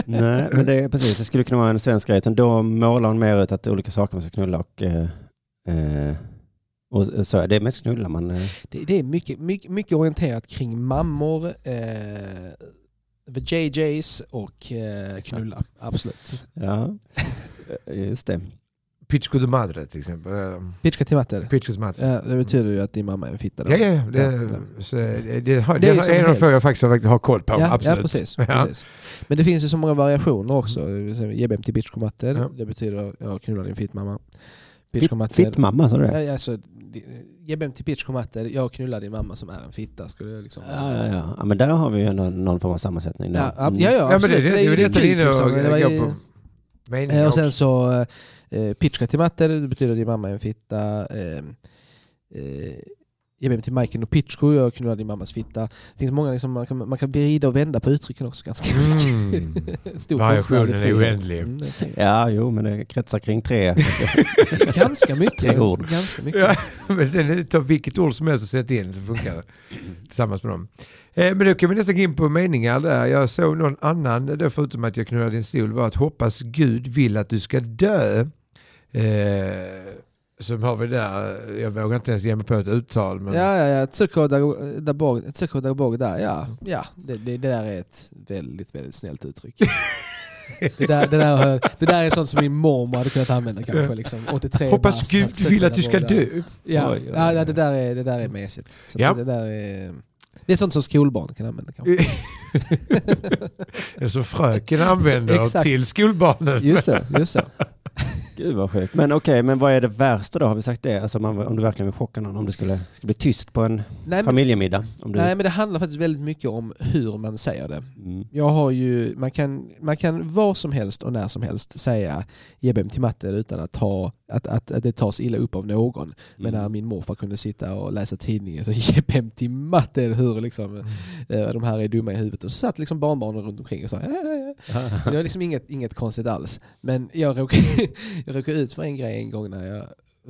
Speaker 3: Nej, men det är precis. Det skulle kunna vara en svensk grej. Utan då målar hon mer ut att det är olika saker man ska knulla och... Eh, eh, och så, det är mest knulla man... Eh,
Speaker 5: Det, det är mycket, mycket, mycket orienterat kring mammor, eh, the JJs och eh, knulla. Absolut.
Speaker 3: ja, Eh, just det.
Speaker 4: Pitchko de Madre till exempel. Eh,
Speaker 5: Pitchka till matte.
Speaker 4: Pitchko de Madre.
Speaker 5: Ja, Eh, det betyder ju att din mamma är en fitta. då.
Speaker 4: Ja, ja, ja. Det,
Speaker 5: Ja.
Speaker 4: Så, det, det, har-
Speaker 5: Det är
Speaker 4: det,
Speaker 5: liksom
Speaker 4: är en av
Speaker 5: helt-
Speaker 4: de få jag faktiskt har- har koll på.
Speaker 5: Ja,
Speaker 4: absolut.
Speaker 5: ja, precis,
Speaker 4: Ja.
Speaker 5: precis. Men det finns ju så många variationer också. GBM till bitchkomatter,
Speaker 4: Ja.
Speaker 5: det betyder ja, knulla din fittmamma.
Speaker 3: Fitt,
Speaker 5: Bitchkomatter.
Speaker 3: fitt mamma, sa du det?
Speaker 5: Ja, ja, alltså, det- GBM till bitchkomatter, jag knullar din mamma som är en fitta. Skulle jag liksom...
Speaker 3: Ja, ja, ja. ja, men där har vi ju ändå någon form av sammansättning.
Speaker 5: Ja,
Speaker 3: där.
Speaker 5: ja,
Speaker 3: Mm.
Speaker 5: ja,
Speaker 4: Ja, men det,
Speaker 5: absolut.
Speaker 4: det, det, är ju detta
Speaker 5: kul,
Speaker 4: du är inne
Speaker 5: liksom. Det var
Speaker 4: och
Speaker 5: ju-
Speaker 4: går på. Meningen
Speaker 5: Eh, och
Speaker 4: också.
Speaker 5: sen så eh, pitchka till matter, det betyder att din mamma är en fitta. Eh, eh, jag till Majken och Pitchko, jag knullar din mammas fitta. Det finns många, liksom, man, kan, man kan vrida och vända på uttrycken också ganska mycket.
Speaker 4: Mm.
Speaker 5: Stor
Speaker 4: Variationen
Speaker 5: konstnärlig
Speaker 4: är
Speaker 5: frihet.
Speaker 4: oändlig.
Speaker 5: Mm, det är fint.
Speaker 3: Ja, jo, men det kretsar kring tre.
Speaker 5: ganska mycket.
Speaker 3: Tre ord.
Speaker 5: ganska mycket.
Speaker 4: Ja, men sen är det ta vilket ord som helst och sätt in så funkar det. Tillsammans med dem. Eh, men då kan vi nästan gå in på meningar där. Jag såg någon annan, då förutom att jag knullade din stol, var att hoppas Gud vill att du ska dö. Eh, som har vi där, jag vågar inte ens ge mig på ett uttal. Men...
Speaker 5: Ja, ja, ja. Tsuko Dago- Dabog- Tsuko Dabog där, ja. ja. Det, det, det där är ett väldigt, väldigt snällt uttryck. Det där, det, där, har- det där är sånt som min mormor hade kunnat använda kanske. Liksom, 83
Speaker 4: hoppas
Speaker 5: bast,
Speaker 4: Gud
Speaker 5: Tsuko
Speaker 4: vill att du ska
Speaker 5: Dabog där.
Speaker 4: dö.
Speaker 5: Ja,
Speaker 3: Oj, oj,
Speaker 5: ja, ja,
Speaker 3: oj.
Speaker 5: det där är, det där är mesigt. Så
Speaker 4: Ja.
Speaker 5: att det, där är, det är sånt som skolbarn kan använda kanske.
Speaker 4: Det är som fröken använder
Speaker 5: Exakt.
Speaker 4: till skolbarnen.
Speaker 5: Just så, just så.
Speaker 3: Gud vad sjukt. Men okej, men vad är det värsta då? Har vi sagt det? Alltså man, om du verkligen vill chocka någon, om det skulle, skulle bli tyst på en
Speaker 5: Nej men,
Speaker 3: familjemiddag. Om du,
Speaker 5: nej men det handlar faktiskt väldigt mycket om hur man säger det.
Speaker 3: Mm.
Speaker 5: Jag har ju, man kan, man kan vad som helst och när som helst säga Jebem till matte utan att, ha, att, att, att det tas illa upp av någon.
Speaker 3: Mm.
Speaker 5: Men när min morfar kunde sitta och läsa tidningen så Jebem till matte hur liksom, eh, de här är dumma i huvudet. Och så satt liksom barnbarnen runt omkring och sa "Äh,
Speaker 3: Mm.
Speaker 5: Det var liksom inget, inget konstigt alls. Men jag råkade, jag råkade ut för en grej en gång när jag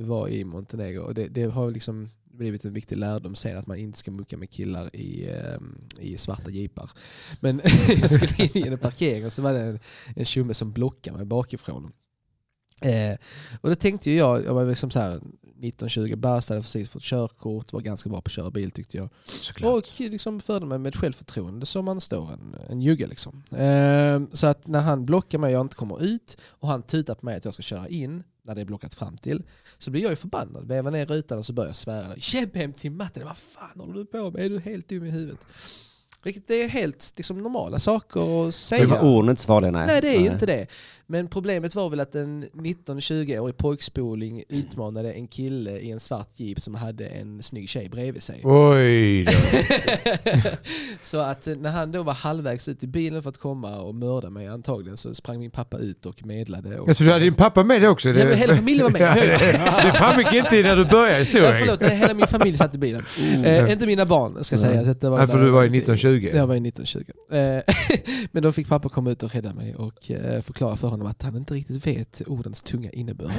Speaker 5: var i Montenegro. Och det, det har liksom blivit en viktig lärdom sen att man inte ska mucka med killar i, ehm, i svarta jeepar. Men jag skulle in i en parkering och så var det en, en tjomme som blockade mig bakifrån. Eh, och då tänkte ju jag, jag var liksom så här 19-20 bast, hade precis fått körkort, var ganska bra på att köra bil tyckte jag.
Speaker 4: Såklart.
Speaker 5: Och liksom förde mig med ett självförtroende som man står en, en jugge. Liksom. Ehm, så att när han blockar mig och jag inte kommer ut och han tutar på mig att jag ska köra in när det är blockat fram till så blir jag ju förbannad. Vevar ner rutan och så börjar jag svära. Käbb hem till matten, vad fan håller du på med? Är du helt dum i huvudet? Vilket är helt liksom, normala saker att
Speaker 3: Det
Speaker 5: säga.
Speaker 3: var orden inte så farliga, nej.
Speaker 5: Nej, det är ju inte det. Men problemet var väl att en 19-20-årig pojkspoling utmanade en kille i en svart jeep som hade en snygg tjej bredvid sig.
Speaker 4: Oj då.
Speaker 5: så att eh, när han då var halvvägs ut i bilen för att komma och mörda mig antagligen så sprang min pappa ut och medlade. Och...
Speaker 4: Alltså, du hade din pappa med dig också?
Speaker 5: Ja, men hela familjen var med.
Speaker 4: Ja, det, det framgick inte när du började
Speaker 5: Ja,
Speaker 4: historien.
Speaker 5: förlåt, nej, hela min familj satt i bilen. Eh, inte mina barn ska
Speaker 4: Oh, Nej.
Speaker 5: sägas. Detta
Speaker 4: Nej, för
Speaker 5: bara-
Speaker 4: du var i 1920.
Speaker 5: Jag var i 1920. Eh, Men då fick pappa komma ut och rädda mig och eh, förklara för honom att han inte riktigt vet ordens tunga innebörd.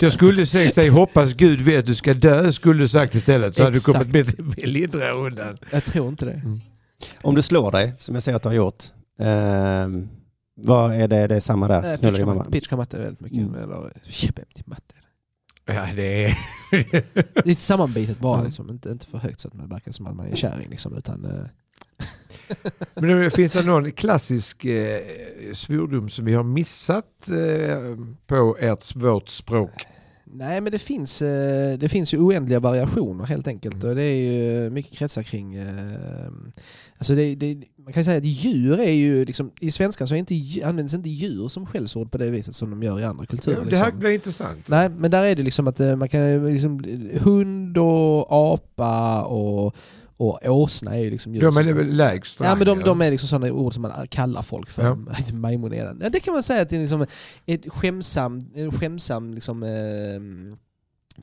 Speaker 4: Jag skulle säga säg, hoppas Gud vet att du ska dö, skulle du sagt istället. Så hade du
Speaker 5: Exakt.
Speaker 4: kommit lite lindrigare undan.
Speaker 5: jag tror inte det.
Speaker 3: Om du slår dig, som jag ser att du har gjort, ehm, vad är det? Det är samma där, knullar
Speaker 5: Eh,
Speaker 3: din
Speaker 5: Pitchka
Speaker 3: mamma.
Speaker 5: matte- pitchka matte är väldigt mycket.
Speaker 3: Mm.
Speaker 5: Eller, käbbel till matte.
Speaker 4: Ja, det är...
Speaker 5: Lite sammanbitet bara,
Speaker 4: Mm.
Speaker 5: liksom. inte, inte för högt så att man verkar som att man är en kärring. Liksom, utan, eh,
Speaker 4: Men det- finns det någon klassisk eh, svordom som vi har missat eh, på ert svårt språk?
Speaker 5: nej, men det finns, eh, det finns ju oändliga variationer helt enkelt.
Speaker 4: Mm.
Speaker 5: Och det är ju mycket kretsar kring... Eh, alltså det, det, man kan ju säga att djur är ju... Liksom, I svenskan så är inte, dju- används inte djur som skällsord på det viset som de gör i andra kulturer.
Speaker 4: det här
Speaker 5: liksom.
Speaker 4: blir intressant.
Speaker 5: Nej, men där är det liksom att eh, man kan ju liksom, hund och apa och, och åsna är ju liksom djur.
Speaker 4: De
Speaker 5: som-
Speaker 4: är väl lägst?
Speaker 5: Ja, men de,
Speaker 4: rang,
Speaker 5: de är liksom sådana ord som man kallar folk för.
Speaker 4: Ja.
Speaker 5: Majmoneran. Ja, det kan man säga att det är liksom ett skämsam, en skämsam liksom, eh,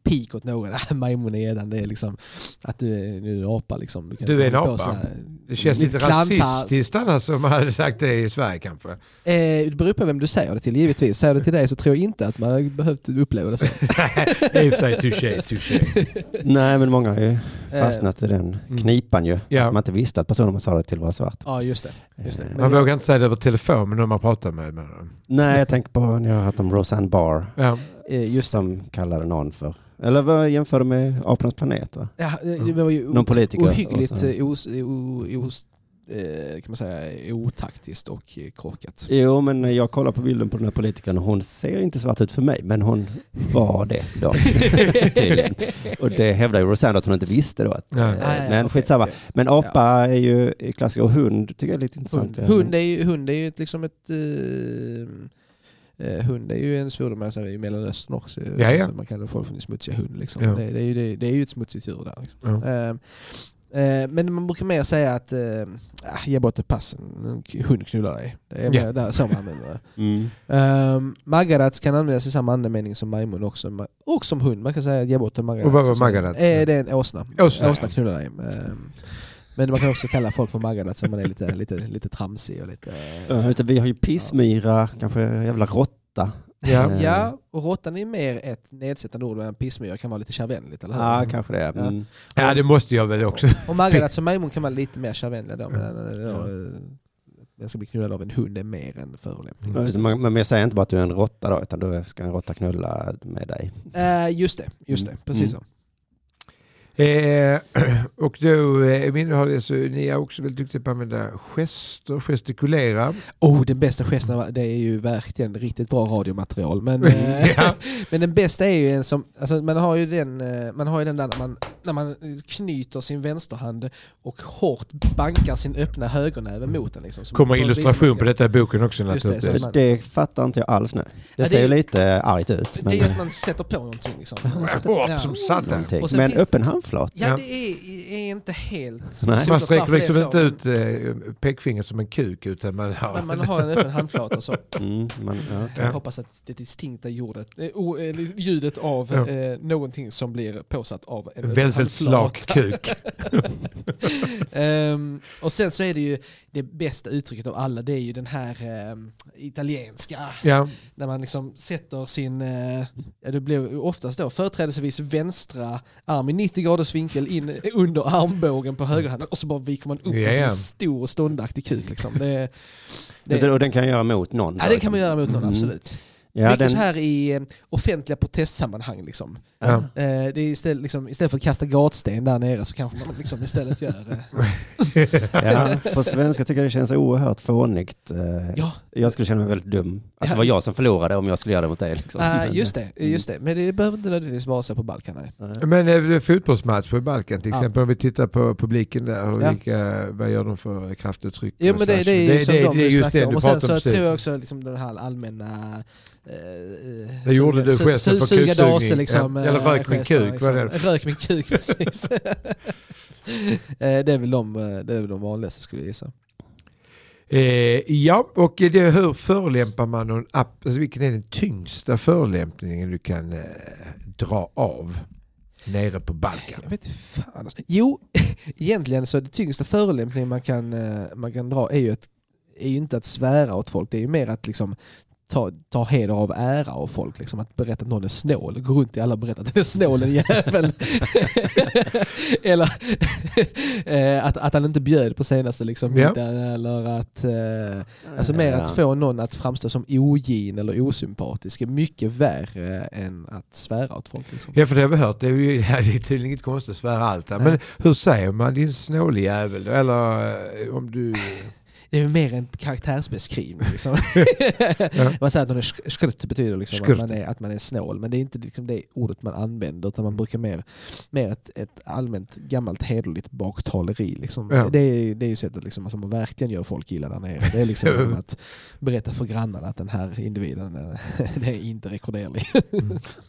Speaker 5: pik åt någon. Ah, Majmonedan, det är liksom att du är, nu är du en apa liksom. kan
Speaker 4: Du är en
Speaker 5: inte hålla på
Speaker 4: apa.
Speaker 5: så här.
Speaker 4: Det känns lite,
Speaker 5: Lite klantar.
Speaker 4: rasistiskt annars som hade sagt det i Sverige kanske.
Speaker 5: Eh, det beror på vem du säger det till givetvis. Säger det till dig så tror jag inte att man har behövt uppleva det så. Eh,
Speaker 4: I och för sig, touché, touché.
Speaker 3: Nej, men många har ju fastnat i den knipan ju.
Speaker 4: Ja.
Speaker 3: Att man inte visste att personen man sa det till var svart. Eh,
Speaker 5: Ja, just det. Just det. Men
Speaker 4: Man
Speaker 5: jag-
Speaker 4: vågar inte säga det över telefon med någon man pratar med. med dem.
Speaker 3: Nej, jag tänker på när jag har hört om Roseanne Barr.
Speaker 4: Ja.
Speaker 5: eh, just,
Speaker 3: som kallade någon för... Eller vad jämförde med Apornas planet va?
Speaker 5: ja, eh, det var ju
Speaker 3: Någon
Speaker 5: ot-
Speaker 3: politiker och
Speaker 5: ohyggligt
Speaker 3: så.
Speaker 5: eh, os, o, os, eh, kan man säga, otaktiskt och eh, korkat.
Speaker 3: Jo, men jag kollar på bilden på den här politikern och hon ser inte svart ut för mig, men hon var det då. Tydligen. och det hävdar ju Rosanna att hon inte visste då. Att,
Speaker 4: Nej.
Speaker 3: eh,
Speaker 5: Ah, ja,
Speaker 3: men
Speaker 5: okej,
Speaker 3: skitsamma.
Speaker 5: okej.
Speaker 3: Men apa är ju klassiker och hund tycker jag är lite intressant.
Speaker 5: Hund, hund är ju, hund är ju ett, liksom ett... Eh, eh, hund är ju en svordom alltså, i Mellanöstern också.
Speaker 4: Ja, ja.
Speaker 5: Alltså, man kallar folk för den smutsiga hund. Liksom.
Speaker 4: Ja.
Speaker 5: Det, det, är ju, det, det är ju ett smutsigt djur där. Liksom.
Speaker 4: Ja.
Speaker 5: Eh, eh, men man brukar mer säga att eh, ah, ge bort ett pass, en k- hund knullar dig. Det är mer
Speaker 4: Ja.
Speaker 5: där, så man använder det.
Speaker 3: Mm.
Speaker 5: Um, Magarats kan användas i samma andemening som majmun också. ma- Och som hund, man kan säga ge bort en Magarats.
Speaker 4: Och vad var
Speaker 5: Alltså,
Speaker 4: Magarats?
Speaker 5: Eh, det är en åsna.
Speaker 4: Åsna,
Speaker 5: Åsna,
Speaker 4: ja.
Speaker 5: knullar dig. Ehm, men man kan också kalla folk för Magarats om man är lite, lite, lite tramsig och lite...
Speaker 3: Ja, Mm. just det, vi har ju pissmyra, kanske jävla råtta.
Speaker 4: Ja.
Speaker 3: Eh,
Speaker 5: Ja, och råttan är mer ett nedsättande ord än pissmyra kan vara lite kärvänligt, eller hur?
Speaker 3: Ja, kanske det. Mm.
Speaker 4: ja, det måste jag väl också.
Speaker 5: Och Magarats och majmun kan vara lite mer kärvänliga då, men ja. jag ska bli knullad av en hund är mer än förolämpning.
Speaker 3: Ja, just det, man- Men jag säger inte bara att du är en råtta då, utan då ska en råtta knulla med dig.
Speaker 5: Eh, just det, just det, precis så.
Speaker 4: Eh, och då, eh, min har det så, ni är också väldigt duktiga på att använda gester, gestikulera.
Speaker 5: Oh, den bästa gesten, var- det är ju verkligen riktigt bra radiomaterial. Men, eh,
Speaker 4: Ja.
Speaker 5: men den bästa är ju en som, alltså, man har ju den, eh, man har ju den där när man, när man knyter sin vänsterhand och hårt bankar sin öppna högernäve mot den. Liksom,
Speaker 4: Mm. Kommer illustration på
Speaker 5: det?
Speaker 4: detta i boken också
Speaker 5: Just det,
Speaker 4: naturligtvis.
Speaker 5: så-
Speaker 3: Det fattar inte jag alls nu. Det
Speaker 5: Ja, det
Speaker 3: ser ju
Speaker 5: är-
Speaker 3: lite argt ut. Men,
Speaker 5: Det är ju att man sätter på någonting liksom. Man sätter-
Speaker 4: Bra,
Speaker 5: ja. Mm.
Speaker 4: som satan.
Speaker 3: någonting.
Speaker 5: Och sen
Speaker 3: men
Speaker 5: finns-
Speaker 3: öppen handflat.
Speaker 5: Ja,
Speaker 4: Ja.
Speaker 5: det är, är inte helt
Speaker 3: Nej.
Speaker 5: solklart
Speaker 4: Man sträcker
Speaker 5: varför det är
Speaker 4: liksom
Speaker 5: så,
Speaker 4: inte
Speaker 5: men-
Speaker 4: ut eh, pekfingret som en kuk utan man har...
Speaker 5: Men man har en öppen handflata och så.
Speaker 3: Mm, man, ja, okej.
Speaker 5: Jag hoppas att det distinkta jordet, eh, o- eller ljudet av
Speaker 4: Ja.
Speaker 5: eh, någonting som blir påsatt av en
Speaker 4: en väldigt, väldigt slak
Speaker 5: handflata.
Speaker 4: kuk.
Speaker 5: Ehm, och sen så är det ju det bästa uttrycket av alla, det är ju den här ehm, italienska.
Speaker 4: Ja,
Speaker 5: När man liksom sätter sin, eh, ja det blir oftast då företrädesvis vänstra arm i 90 graders vinkel in eh, under armbågen på högerhanden och så bara viker man upp den som
Speaker 4: Ja.
Speaker 5: en stor och ståndaktig kuk liksom. Det,
Speaker 3: Just
Speaker 5: det,
Speaker 3: det, Och den kan jag göra mot någon.
Speaker 5: ja,
Speaker 3: så
Speaker 5: det
Speaker 3: liksom.
Speaker 5: kan man göra mot någon,
Speaker 3: Mm.
Speaker 5: absolut.
Speaker 3: Ja,
Speaker 5: Mycket
Speaker 3: den,
Speaker 5: så här i eh, offentliga protestsammanhang liksom.
Speaker 4: ja.
Speaker 5: Eh, det är istället, liksom, istället för att kasta gatsten där nere så kanske man liksom istället gör... Eh,
Speaker 3: ja, på svenska tycker jag det känns oerhört fånigt. Eh,
Speaker 5: ja,
Speaker 3: Jag skulle känna mig väldigt dum. Att
Speaker 5: Ja.
Speaker 3: det var jag som förlorade om jag skulle göra det mot dig. Liksom.
Speaker 5: eh, just det,
Speaker 4: Mm.
Speaker 5: just det. Men det behöver inte nödvändigtvis vara så på Balkan. Nej.
Speaker 4: Men eh, fotbollsmatch på Balkan till
Speaker 5: Ja.
Speaker 4: exempel, om vi tittar på publiken där, och
Speaker 5: Ja.
Speaker 4: vilka, vad gör de för kraftuttryck?
Speaker 5: Jo men det, det är ju som
Speaker 4: det-
Speaker 5: de
Speaker 4: det är
Speaker 5: vi
Speaker 4: just
Speaker 5: snackar
Speaker 4: det
Speaker 5: om.
Speaker 4: du
Speaker 5: Och sen
Speaker 4: pratar
Speaker 5: så
Speaker 4: om precis.
Speaker 5: tror jag också liksom den här allmänna... Eh, eh,
Speaker 4: Det gjorde du gesten för
Speaker 5: Suga
Speaker 4: kuksugning.
Speaker 5: dase liksom.
Speaker 4: Ja, eller
Speaker 5: eh,
Speaker 4: rök min
Speaker 5: gesten,
Speaker 4: kuk, vad är
Speaker 5: Rök min kuk, precis. Eh, det, är väl de, eh, det är väl de vanligaste skulle jag gissa.
Speaker 4: Eh, ja, och eh, det, är hur förolämpar man någon app? Alltså, vilken är den tyngsta förolämpningen du kan eh, dra av nere på Balkan?
Speaker 5: Jag vet inte fan. alltså. Jo, egentligen så är det tyngsta förolämpningen man kan, eh, man kan dra är ju, att, är ju inte att svära åt folk. Det är ju mer att liksom ta, ta heder av ära av folk. Liksom, att berätta att någon är snål. Gå runt i alla och berätta att den är snål en jävel. eller eh, att, att han inte bjöd på senaste liksom,
Speaker 4: Ja.
Speaker 5: middagen. Eller att, eh, alltså mer att få någon att framstå som ogin eller osympatisk är mycket värre än att svära åt folk. Liksom.
Speaker 4: Ja, för det har vi hört. Det är, ju, det är tydligen inget konstigt att svära allt. här. Men
Speaker 5: Nej.
Speaker 4: hur säger man din snåljävel? då? Eller eh, om du...
Speaker 5: Det är ju mer en karaktärsbeskrivning. Liksom. Man säger att någon är sk- skrutt betyder liksom
Speaker 4: Skrutt.
Speaker 5: att, man är, att man är snål, men det är inte liksom det ordet man använder utan man brukar mer, mer ett, ett allmänt gammalt hederligt baktaleri. Liksom.
Speaker 4: Ja.
Speaker 5: Det, är, det är ju sättet liksom, som man verkligen gör folk illa där nere. Det är liksom genom att berätta för grannarna att den här individen eh, det är inte rekorderlig.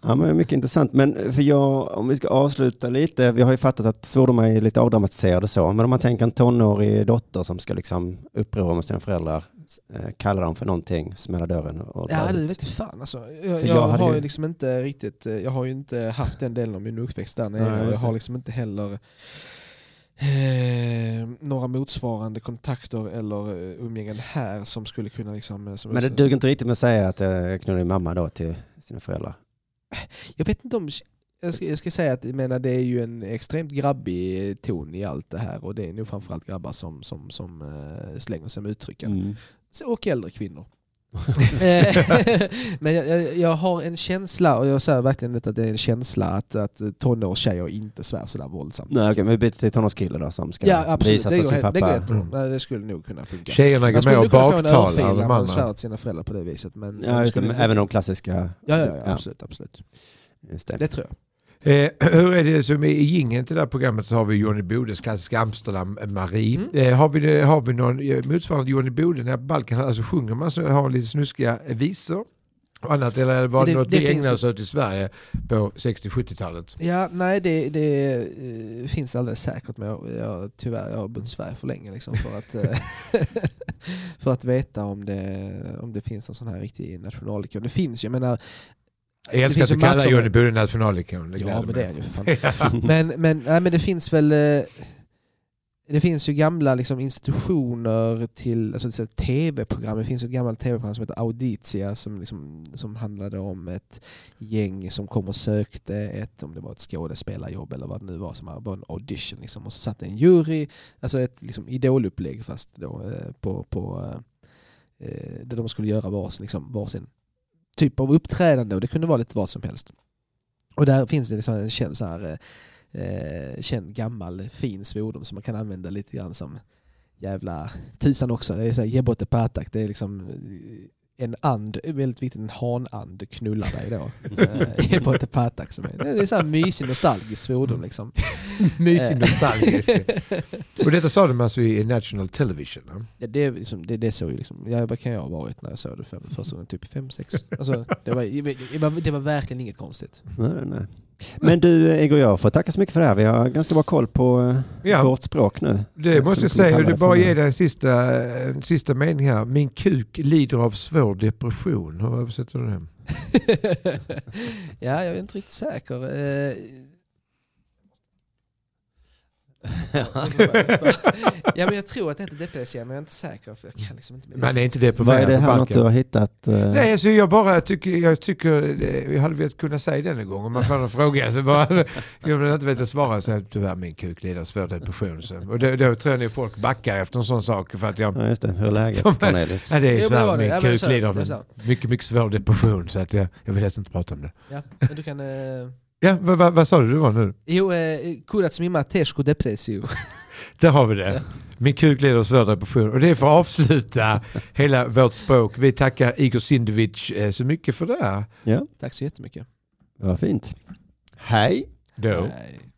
Speaker 3: Ja, men mycket intressant. Men eh, för jag, om vi ska avsluta lite, vi har ju fattat att svordomar är lite avdramatiserade och så, men om man tänker en tonårig dotter som ska liksom uppröra med sina föräldrar, eh, kalla dem för någonting, smälla dörren och dra
Speaker 5: Ja,
Speaker 3: ut.
Speaker 5: det vet inte fan alltså. Jag,
Speaker 3: För
Speaker 5: jag,
Speaker 3: jag hade
Speaker 5: har
Speaker 3: ju-
Speaker 5: ju liksom inte riktigt, eh, jag har ju inte haft den delen av min uppväxt där. Nej,
Speaker 3: Nej,
Speaker 5: jag,
Speaker 3: just det.
Speaker 5: har liksom inte heller eh, några motsvarande kontakter eller eh, umgängen här som skulle kunna liksom... eh, Som
Speaker 3: Men det duger inte riktigt med att säga att eh, jag knullade min mamma då till sina föräldrar.
Speaker 5: Jag vet inte om... Jag ska, jag ska säga att jag menar, det är ju en extremt grabbig ton i allt det här och det är nog framförallt grabbar som, som, som eh, slänger sig med uttrycken.
Speaker 3: Mm.
Speaker 5: Så- och äldre kvinnor. Eh, Men jag, jag, jag har en känsla, och jag säger verkligen detta, att det är en känsla att, att tonårstjejer inte svär sådär våldsamt.
Speaker 3: Nej, okej, men vi byter till tonårskille då som ska
Speaker 5: Ja absolut,
Speaker 3: visa
Speaker 5: det
Speaker 3: för
Speaker 5: går,
Speaker 3: sin
Speaker 5: helt- det går
Speaker 3: pappa.
Speaker 4: Mm.
Speaker 5: jättebra. Nej, Det skulle nog kunna funka.
Speaker 4: Tjejerna
Speaker 5: Man
Speaker 4: går
Speaker 5: skulle
Speaker 4: med
Speaker 5: nog
Speaker 4: och
Speaker 5: kunna få en
Speaker 4: baktalar
Speaker 5: örfil när
Speaker 4: de
Speaker 5: man svär
Speaker 4: andra.
Speaker 5: åt sina föräldrar på det viset. Men
Speaker 3: Ja,
Speaker 5: det
Speaker 3: just det,
Speaker 5: skulle
Speaker 3: men
Speaker 5: nog-
Speaker 3: även de klassiska.
Speaker 5: ja, ja, ja,
Speaker 3: Ja.
Speaker 5: absolut, absolut.
Speaker 3: Just det.
Speaker 5: Det tror jag.
Speaker 4: Eh, hur är det som i jingeln till det här programmet så har vi Johnny Bodes klassiska Amsterdam-Marie.
Speaker 5: Mm.
Speaker 4: Eh, har, vi, har vi någon eh, motsvarande Johnny Bode när Balkan, alltså sjunger man så har lite snuskiga visor och annat eller var det,
Speaker 5: Det-
Speaker 4: något
Speaker 5: det
Speaker 4: vi
Speaker 5: finns-
Speaker 4: ägnade oss åt i Sverige på 60-70-talet?
Speaker 5: Ja, nej det, det eh, finns alldeles säkert men jag, jag, tyvärr, jag har bott i Sverige för länge liksom för att, eh, för att veta om det, om det finns en sån här riktig nationallikon. Det finns ju, jag menar
Speaker 4: Jag älskar att
Speaker 5: finns
Speaker 4: du
Speaker 5: ju
Speaker 4: kallar
Speaker 5: massor-
Speaker 4: Johnny Bode nationalikon. Det
Speaker 5: Ja,
Speaker 4: gläder
Speaker 5: men det
Speaker 4: mig.
Speaker 5: är ju för fan. men, men, nej, men det finns väl... eh, Det finns ju gamla liksom, institutioner till, alltså, till exempel tv-program. Det finns ett gammalt tv-program som heter Auditia som, liksom, som handlade om ett gäng som kom och sökte ett, om det var ett skådespelarjobb eller vad det nu var, som var en audition. Liksom. Och så satt en jury, alltså ett liksom, idolupplägg fast då eh, på, på eh, eh, där de skulle göra varsin, liksom, varsin typ av uppträdande och det kunde vara lite vad som helst. Och där finns det liksom en känd, så här, eh, eh, känd gammal fin svordom som man kan använda lite grann som jävla tusan också. Det är så här, ge bort det patak. Det är liksom eh, en and, väldigt viktigt, en hanand knullar dig då. Eh, Ge bort det patak. Som är, det är så här mysig nostalgisk svordom liksom.
Speaker 4: Mysig
Speaker 5: Eh.
Speaker 4: nostalgisk. och detta sa de alltså i National Television. va?
Speaker 5: Ja, det, är liksom, det, det såg ju liksom, ja, vad kan jag ha varit när jag såg det för, första gången? Typ 5-6. Alltså, det, var, det, var, det var verkligen inget konstigt.
Speaker 3: Nej, nej. Men du, eh, Igor, jag får tacka så mycket för det här. Vi har ganska bra koll på eh,
Speaker 4: Ja.
Speaker 3: vårt språk nu.
Speaker 4: Det måste
Speaker 3: Som
Speaker 4: jag
Speaker 3: vi kallar
Speaker 4: säga, det
Speaker 3: det
Speaker 4: bara
Speaker 3: för
Speaker 4: ge
Speaker 3: nu.
Speaker 4: dig en sista, en sista mening här. Min kuk lider av svår depression. Hur översätter du
Speaker 3: Eh.
Speaker 4: det?
Speaker 5: ja, jag är inte riktigt säker. Eh, ja, men jag tror att det heter depression, men jag är inte säker. För jag kan liksom inte
Speaker 4: Man är inte
Speaker 3: Vad
Speaker 4: deprimerad
Speaker 3: är det
Speaker 4: på
Speaker 3: här något du
Speaker 4: balken.
Speaker 3: har hittat? eh,
Speaker 4: Nej, alltså jag bara tycker, jag tycker, eh, jag hade velat kunna säga den en gång om man får en fråga. Så bara, jag vill inte veta svara så här, tyvärr min kuk lider av svår depression. Så. Och då, då tror jag nog folk backar efter en sån sak för att jag
Speaker 3: Ja, just det. Hur är läget
Speaker 4: Som är-
Speaker 3: Cornelis?
Speaker 4: Ja, det är
Speaker 5: Jo,
Speaker 4: så
Speaker 5: men det
Speaker 4: här,
Speaker 5: var det.
Speaker 4: min
Speaker 5: Ja, men
Speaker 4: kuk
Speaker 5: så är det.
Speaker 4: lider av
Speaker 5: Det är så
Speaker 4: en mycket, mycket svår depression så att jag, jag vill helst inte prata om det.
Speaker 5: Ja, men du kan... Eh,
Speaker 4: Ja, vad, vad, vad sa du det var nu?
Speaker 5: jo, eh, kurats mima tesco depressio.
Speaker 4: Där har vi det. Min kuk lider av svår depression. Och det är för att avsluta hela vårt språk. Vi tackar Igor Sindovic eh, så mycket för det.
Speaker 3: Ja,
Speaker 5: Tack så jättemycket.
Speaker 3: det var fint. Hej!
Speaker 4: Då.
Speaker 5: Nej.